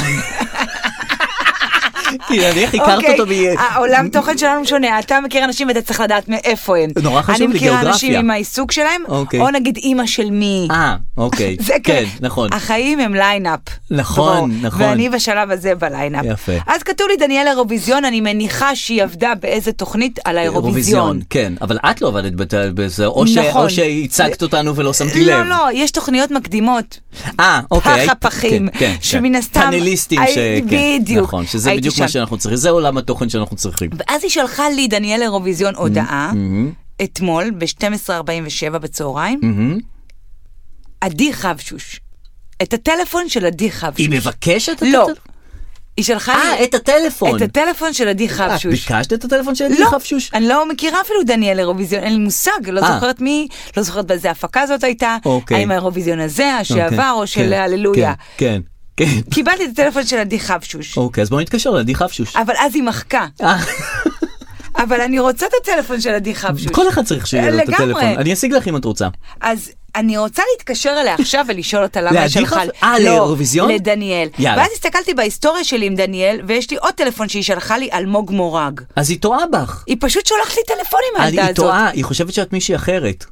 כי נניח הכרת
אוקיי,
אותו ב...
העולם תוכן שלנו שונה, אתה מכיר אנשים ואתה צריך לדעת מאיפה הם.
נורא חשוב לי,
אני מכירה אנשים
גיאוגרפיה.
עם העיסוק שלהם,
אוקיי.
או נגיד אימא של מי.
אה, אוקיי.
זה
כן,
כאילו-
נכון.
החיים הם ליינאפ.
נכון,
ברור.
נכון.
ואני בשלב הזה בליינאפ.
יפה.
אז כתוב לי דניאל אירוויזיון, אני מניחה שהיא עבדה באיזה תוכנית על האירוויזיון.
כן, אבל את לא עבדת בת- בזה, או ש-
נכון.
או שהצגת אותנו ולא שמתי לב.
לא, לא, יש תוכניות מקדמות.
אה, אוקיי.
פח הפחים,
כן, כן, כן.
שמן הסתם-
פאנליסטים ש...
הי-
כן,
בדיוק.
נכון, שזה
הייתי
בדיוק מה
שם.
שאנחנו צריכים, זה עולם התוכן שאנחנו צריכים.
ואז היא שלחה לי, דניאל אירוויזיון, הודעה,
Mm-hmm,
אתמול, ב-12:47 בצהריים,
מהמם.
עדי חבשוש. את הטלפון של עדי
היא
חבשוש.
מבקשת את
לא.
הטל-
היא שלחה
אה,
לי
את הטלפון.
את הטלפון של עדי
אה,
חבשוש.
ביקשת את הטלפון של
לא,
עדי חפשוש?
אני לא מכירה אפילו דניאל אירוויזיון, אין לי מושג, לא
אה.
זוכרת מי, לא זוכרת באיזה הפקה זאת הייתה,
אוקיי.
האם האירוויזיון הזה,
אוקיי,
השעבר, או
כן,
של הללויה.
כן, כן. כן.
קיבלתי את הטלפון של עדי חבשוש,
אוקיי, אז בואו נתקשר לעדי חפשוש.
אבל אז היא מחקה,
אה,
אבל אני רוצה את הטלפון של עדי חבשוש.
כל אחד צריך שיהיה לו את
לגמרי.
הטלפון. אני אשיג לך אם את רוצה.
אז אני רוצה להתקשר אליה עכשיו ולשאול אותה למה היא
לעדי
שלחה...
חב- אה,
לא,
לאירוויזיון?
לדניאל.
יאללה.
ואז הסתכלתי בהיסטוריה שלי עם דניאל, ויש לי עוד טלפון שהיא שלחה לי, אלמוג מורג.
אז היא טועה בך.
היא פשוט שולחת לי טלפונים
אני-
מהילדה
אה, היא
הזאת.
טועה, היא חושבת שאת מישהי אחרת.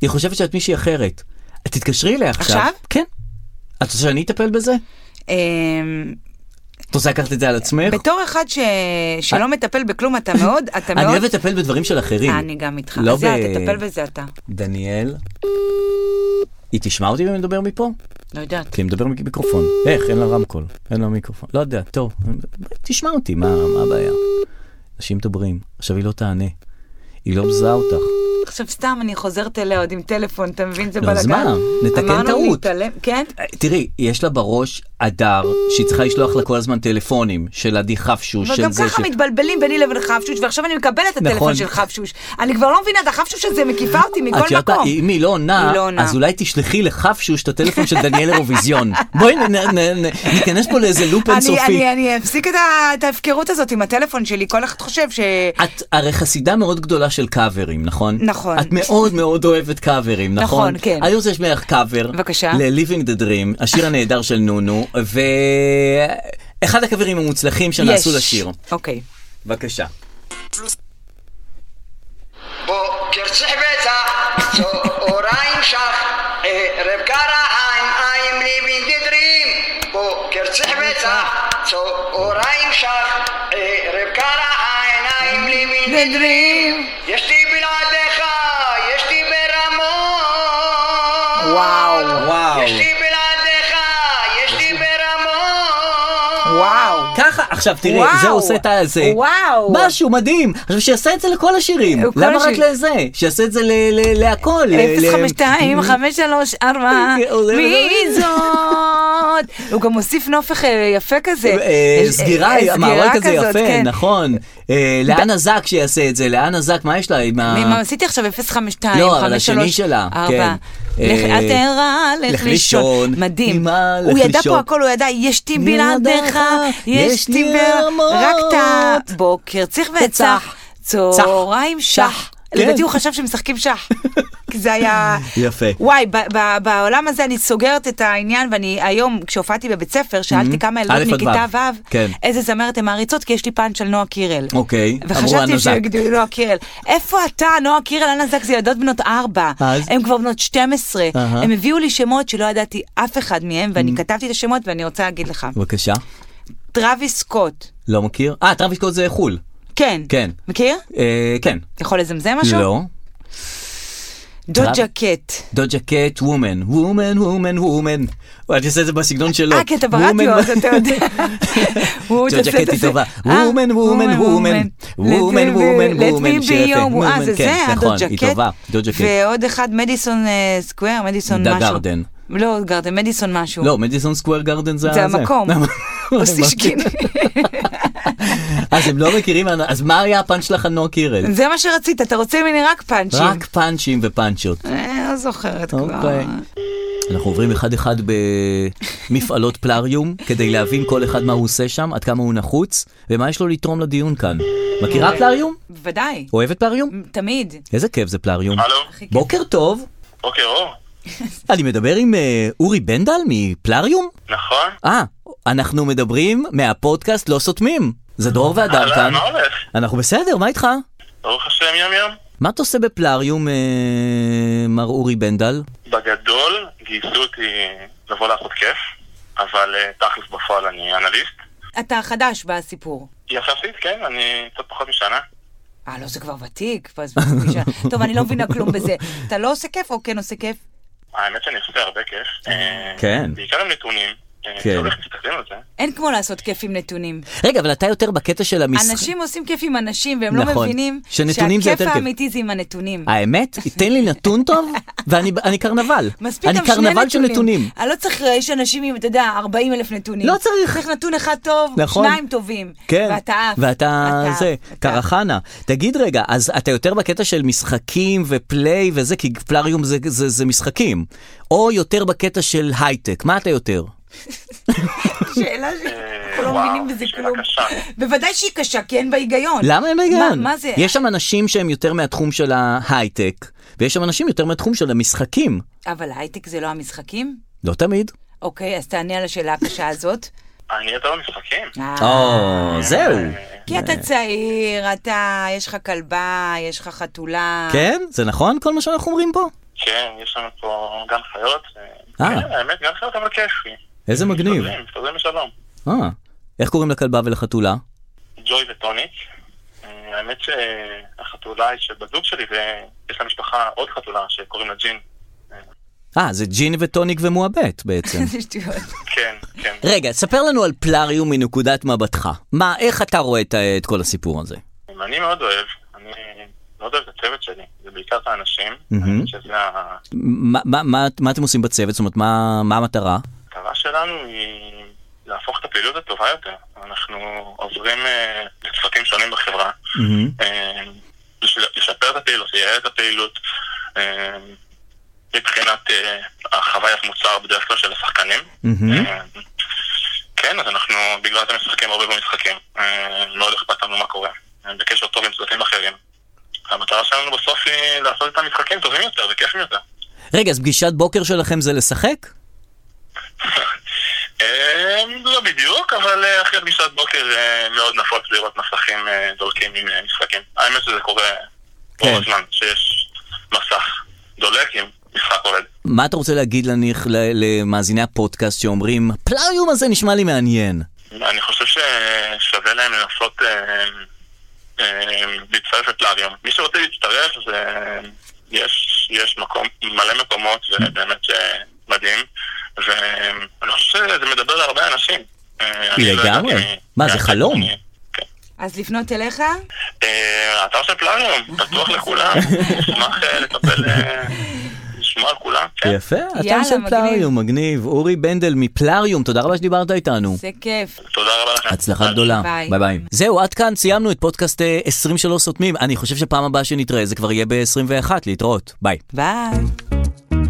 היא חושבת שאת מישהי אחרת. את תתקשרי אליה עכשיו.
עכשיו?
כן. את רוצה שאני אטפל בזה?
אמ,
את רוצה לקחת את זה על עצמך?
בתור אחד ש... שלא מטפל בכלום, אתה מאוד, אתה מאוד...
אה, אני אוהב לטפל בדברים של אחרים.
אני גם איתך.
לא
אז יאללה,
ב-
תטפל בזה אתה.
דניאל. היא תשמע אותי אם אני מדבר מפה?
לא יודעת.
כי אני מדבר מיקרופון. איך? אין לה רמקול. אין לה מיקרופון. לא יודע, טוב. תשמע אותי, מה מה הבעיה? אנשים מדברים. עכשיו היא לא תענה. היא לא מזהה אותך.
עכשיו סתם אני חוזרת אליה עוד עם טלפון, אתה מבין? זה
נו,
בלאגן.
לא, אז מה? נתקן
אמרנו
טעות.
להתעלם, כן?
אה, תראי, יש לה בראש אדר שהיא צריכה לשלוח לה כל הזמן טלפונים של עדי חפשוש, של
וגם
זה
ככה
של...
מתבלבלים ביני לבין חפשוש, ועכשיו אני מקבלת את
נכון.
הטלפון של חפשוש. אני כבר לא מבינה, את החפשוש הזה מקיפה אותי
את
מכל
יודעת מה,
מקום.
אם היא לא עונה,
היא לא עונה.
אז אולי תשלחי לחפשוש את הטלפון של דניאל אירוויזיון. בואי נ- נ- נ- נ- ניכנס פה לאיזה לופ
אני-
אינסופי.
אני- אני אפסיק את ה- את ההפקרות הזאת עם הטלפון שלי, כל אחד חושב ש...
את הרי חסידה מאוד גדולה של קאברים, נכון?
נכון.
את מאוד מאוד אוהבת קאברים, נכון?
נכון, כן.
היום יש לך קאבר.
בבקשה.
ל-Living the Dream, השיר הנהדר של נונו, ואחד הקאברים המוצלחים שנעשו
יש.
לשיר.
אוקיי.
בבקשה.
בוקר צבצה, צהריים שח, אה, ערב קרעיים, I'm living the dream. בוקר צבצה, צהריים שח, אה, ערב קרעיים, I'm living the dream. יש לי בלעדיך, יש לי ברמות.
וואו.
וואו.
יש לי בלעדיך, יש לי ברמות.
וואו.
ככה, עכשיו תראי,
וואו.
זה עושה את הזה.
וואו.
משהו מדהים. עכשיו שיעשה את זה לכל השירים.
כל
למה רק
השיר-
לזה? שיעשה את זה ל- ל- להכל. ל- ל-
052-534,
כן, עולה
מי
ודורית.
זאת? מאוד. הוא גם מוסיף נופך אה, יפה כזה.
אה,
יש-
סגירה,
אה,
המאורע
סגירה
כזה
כזאת,
יפה,
כן.
נכון. אה, לאן הזק שיעשה את זה? לאן הזק, מה יש לה עם ה...
ואם עשיתי עכשיו 052,
לא, אבל
53,
השני שלה,
4.
כן.
לך-
אה,
אל תהרה, לך
לך
לישון.
לישון.
מדהים.
ממה
הוא
לך
ידע
לישון?
פה הכל, הוא ידע, יש תי
בלעדיך,
בלעדיך, יש
יש
תי
לי
בלעדיך, רק את
רמות.
הבוקר, צריך וצח,
וצח.
צהריים
צח.
שח.
כן.
לדעתי הוא חשב שמשחקים שח. כי זה היה...
יפה.
וואי, ב- ב- בעולם הזה אני סוגרת את העניין, ואני היום, כשהופעתי בבית ספר, שאלתי כמה
א'
ילדות
עד
מכיתה
ו'.
ו',
כן.
איזה זמרת הן מעריצות, כי יש לי פן של נועה קירל.
אוקיי, אמרו
וחשבתי
הנזק.
שיגידו נועה קירל. איפה אתה, נועה קירל, אנה זק זה ילדות בנות ארבע.
אז?
הן כבר בנות 12.
אהה. Mm.
הם הביאו לי שמות שלא ידעתי אף אחד מהם, ואני כתבתי את השמות ואני רוצה להגיד לך.
בבקשה.
טרוויס סקוט.
לא מכיר? אה, טרוויס סקוט זה חו"ל.
כן.
כן.
מכיר?
אה, כן.
יכול לזמזם משהו?
לא.
דוג'ה
טרא-
קט.
דוג'ה קט, וומן, וומן, וומן, וומן. אני עושה את זה בסגנון שלו.
אה, כי אתה
Woman,
ברדיו, אז
Woman.
אתה יודע. הוא
ג'ורג'ה
עושה את
קט היא
זה.
טובה.
אה,
Woman, woman, woman. Woman, woman,
Let me
woman,
be
שיר יפה.
your- אה,
Woman,
זה זה,
כן, נכון,
הדוג'ה
היא
קט.
טובה, דוג'ה קט.
ועוד אחד, מדיסון אה, סקוואר, מדיסון
דה
משהו.
גרדן.
לא גרדן, מדיסון משהו.
לא, מדיסון סקוואר גרדן זה
זה המקום. אוסישקין.
אז הם לא מכירים, אז מה היה הפאנץ' שלך על נועה קירל?
זה מה שרצית, אתה רוצה ממני רק פאנצ'ים.
רק פאנצ'ים ופאנצ'ות.
אה, לא זוכרת כבר.
אוקיי. אנחנו עוברים אחד-אחד במפעלות פלאריום, כדי להבין כל אחד מה הוא עושה שם, עד כמה הוא נחוץ, ומה יש לו לתרום לדיון כאן. מכירה פלאריום?
בוודאי,
אוהבת פלאריום?
תמיד.
איזה כיף זה פלאריום.
הלו,
בוקר טוב,
בוקר אור,
אני מדבר עם אה, אורי בנדל מפלאריום?
נכון?
אה, אנחנו מדברים מהפודקאסט לא סותמים. זה דרור והדר
אהלן,
כאן.
מה הולך?
אנחנו בסדר, מה איתך?
ברוך השם יום יום.
מה אתה עושה בפלאריום, אה, מר אורי בנדל?
בגדול גייסו אותי לבוא לעשות כיף, אבל אה, תכלס בפועל אני אנליסט.
אתה חדש בסיפור.
יחסית, כן, אני קצת פחות משנה.
אה, לא, זה כבר ותיק. כבר זה ותיק. טוב, אני לא מבינה כלום בזה. אתה לא עושה כיף או כן עושה כיף?
האמת שאני עושה הרבה כיף. אה,
כן.
בעיקר עם נתונים. אה,
כן.
לא הולך להסתכלים על זה.
אין כמו לעשות כיף עם נתונים.
רגע, אבל אתה יותר בקטע של המשחק.
אנשים עושים כיף עם אנשים, והם לא
נכון.
מבינים
שנתונים זה
שהכיף
יותר כיף. אה,
האמיתי זה עם הנתונים.
האמת? תן לי נתון טוב, ואני אני קרנבל.
מספיק
אני
גם שני נתונים.
קרנבל של נתונים.
אני לא צריך, יש אנשים עם, אתה יודע, 40 אלף נתונים.
לא צריך.
צריך נתון אחד טוב,
נכון.
שניים טובים.
כן.
ואתה עף.
ואתה
אתה עף,
זה,
אתה עף.
קרחנה. תגיד רגע, אז אתה יותר בקטע של משחקים ופליי וזה, כי פלאריום זה, זה, זה משחקים. או יותר בקטע של הייטק, מה אתה יותר?
שאלה ש- אנחנו לא
אה, וואו,
מבינים בזה
שאלה
כלום.
קשה.
בוודאי שהיא קשה, כי אין בה היגיון.
למה אין היגיון?
מה- מה זה?
יש שם אנשים שהם יותר מהתחום של ההייטק, ויש שם אנשים יותר מהתחום של המשחקים.
אבל הייטק זה לא המשחקים?
לא תמיד.
אוקיי, אז תענה על השאלה הקשה הזאת.
אני יותר במשחקים.
אה, כן.
או, אה. זהו.
כי אתה צעיר, אתה, יש לך כלבה, יש לך חתולה.
כן? זה נכון כל מה שאנחנו אומרים פה?
כן, יש לנו פה גן חיות. אה,
אה.
כן, האמת, גן חיות אבל כיפי.
איזה מגניב.
מסתדרים, מסתדרים בשלום.
אה, איך קוראים לכלבה ולחתולה?
ג'וי וטוניק. אה, האמת שהחתולה היא של בת זוג שלי, ויש למשפחה עוד חתולה שקוראים לה ג'ין.
אה, זה ג'ין וטוניק ומועבט בעצם.
זה שטויות.
כן, כן.
רגע, ספר לנו על פלאריום מנקודת מבטך. מה, איך אתה רואה את, ה- את כל הסיפור הזה?
אני מאוד אוהב, אני מאוד אוהב את הצוות שלי, זה בעיקר את האנשים,
מהמם.
שזה ה-
מה, מה, מה, מה אתם עושים בצוות? זאת אומרת, מה, מה המטרה?
המטרה שלנו היא להפוך את הפעילות לטובה יותר. אנחנו עוברים אה, לצוותים שונים בחברה,
Mm-hmm.
אה, בשביל לשפר את הפעילות, לייעל את הפעילות, אה, מבחינת אה, החוויית מוצר בדרך כלל של השחקנים. אה, כן, אז אנחנו, בגלל זה משחקים הרבה במשחקים. אה, מאוד אכפת לנו מה קורה. אה, בקשר טוב עם צוותים אחרים. המטרה שלנו בסוף היא לעשות את המשחקים טובים יותר וכיפים יותר.
רגע, אז פגישת בוקר שלכם זה לשחק?
אה, לא בדיוק, אבל אה, אחרי פגישת בוקר אה, מאוד נפוץ לראות מסכים אה, דולקים עם אה, משחקים. האמת שזה קורה
כן.
כל הזמן, שיש מסך דולק עם משחק עובד.
מה אתה רוצה להגיד לניח, ל- למאזיני הפודקאסט שאומרים, הפלאריום הזה נשמע לי מעניין.
אני חושב ששווה להם לנסות אה, אה, להצטרף לפלאריום. מי שרוצה להצטרף, זה... יש, יש מקום, מלא מקומות, זה
Mm.
באמת אה, מדהים. ואני חושב שזה מדבר להרבה אנשים. אה, אני לא
לגמרי.
ידעתי-
מה, זה חלום?
כן.
אז לפנות אליך?
אה, האתר של פלאריום, פתוח לכולם, נשמח אה, לקבל... אה, נשמח לשמוע על כולם. כן?
יפה, אתה
יאללה,
של
מגניב.
פלאריום, מגניב. אורי בנדל מפלאריום, תודה רבה שדיברת איתנו.
זה כיף.
תודה רבה לכם.
הצלחה גדולה.
ביי.
ביי ביי. זהו, עד כאן סיימנו את פודקאסט אה, 20 שלא סותמים. אני חושב שפעם הבאה שנתראה זה כבר יהיה ב-21, להתראות. ביי.
ביי.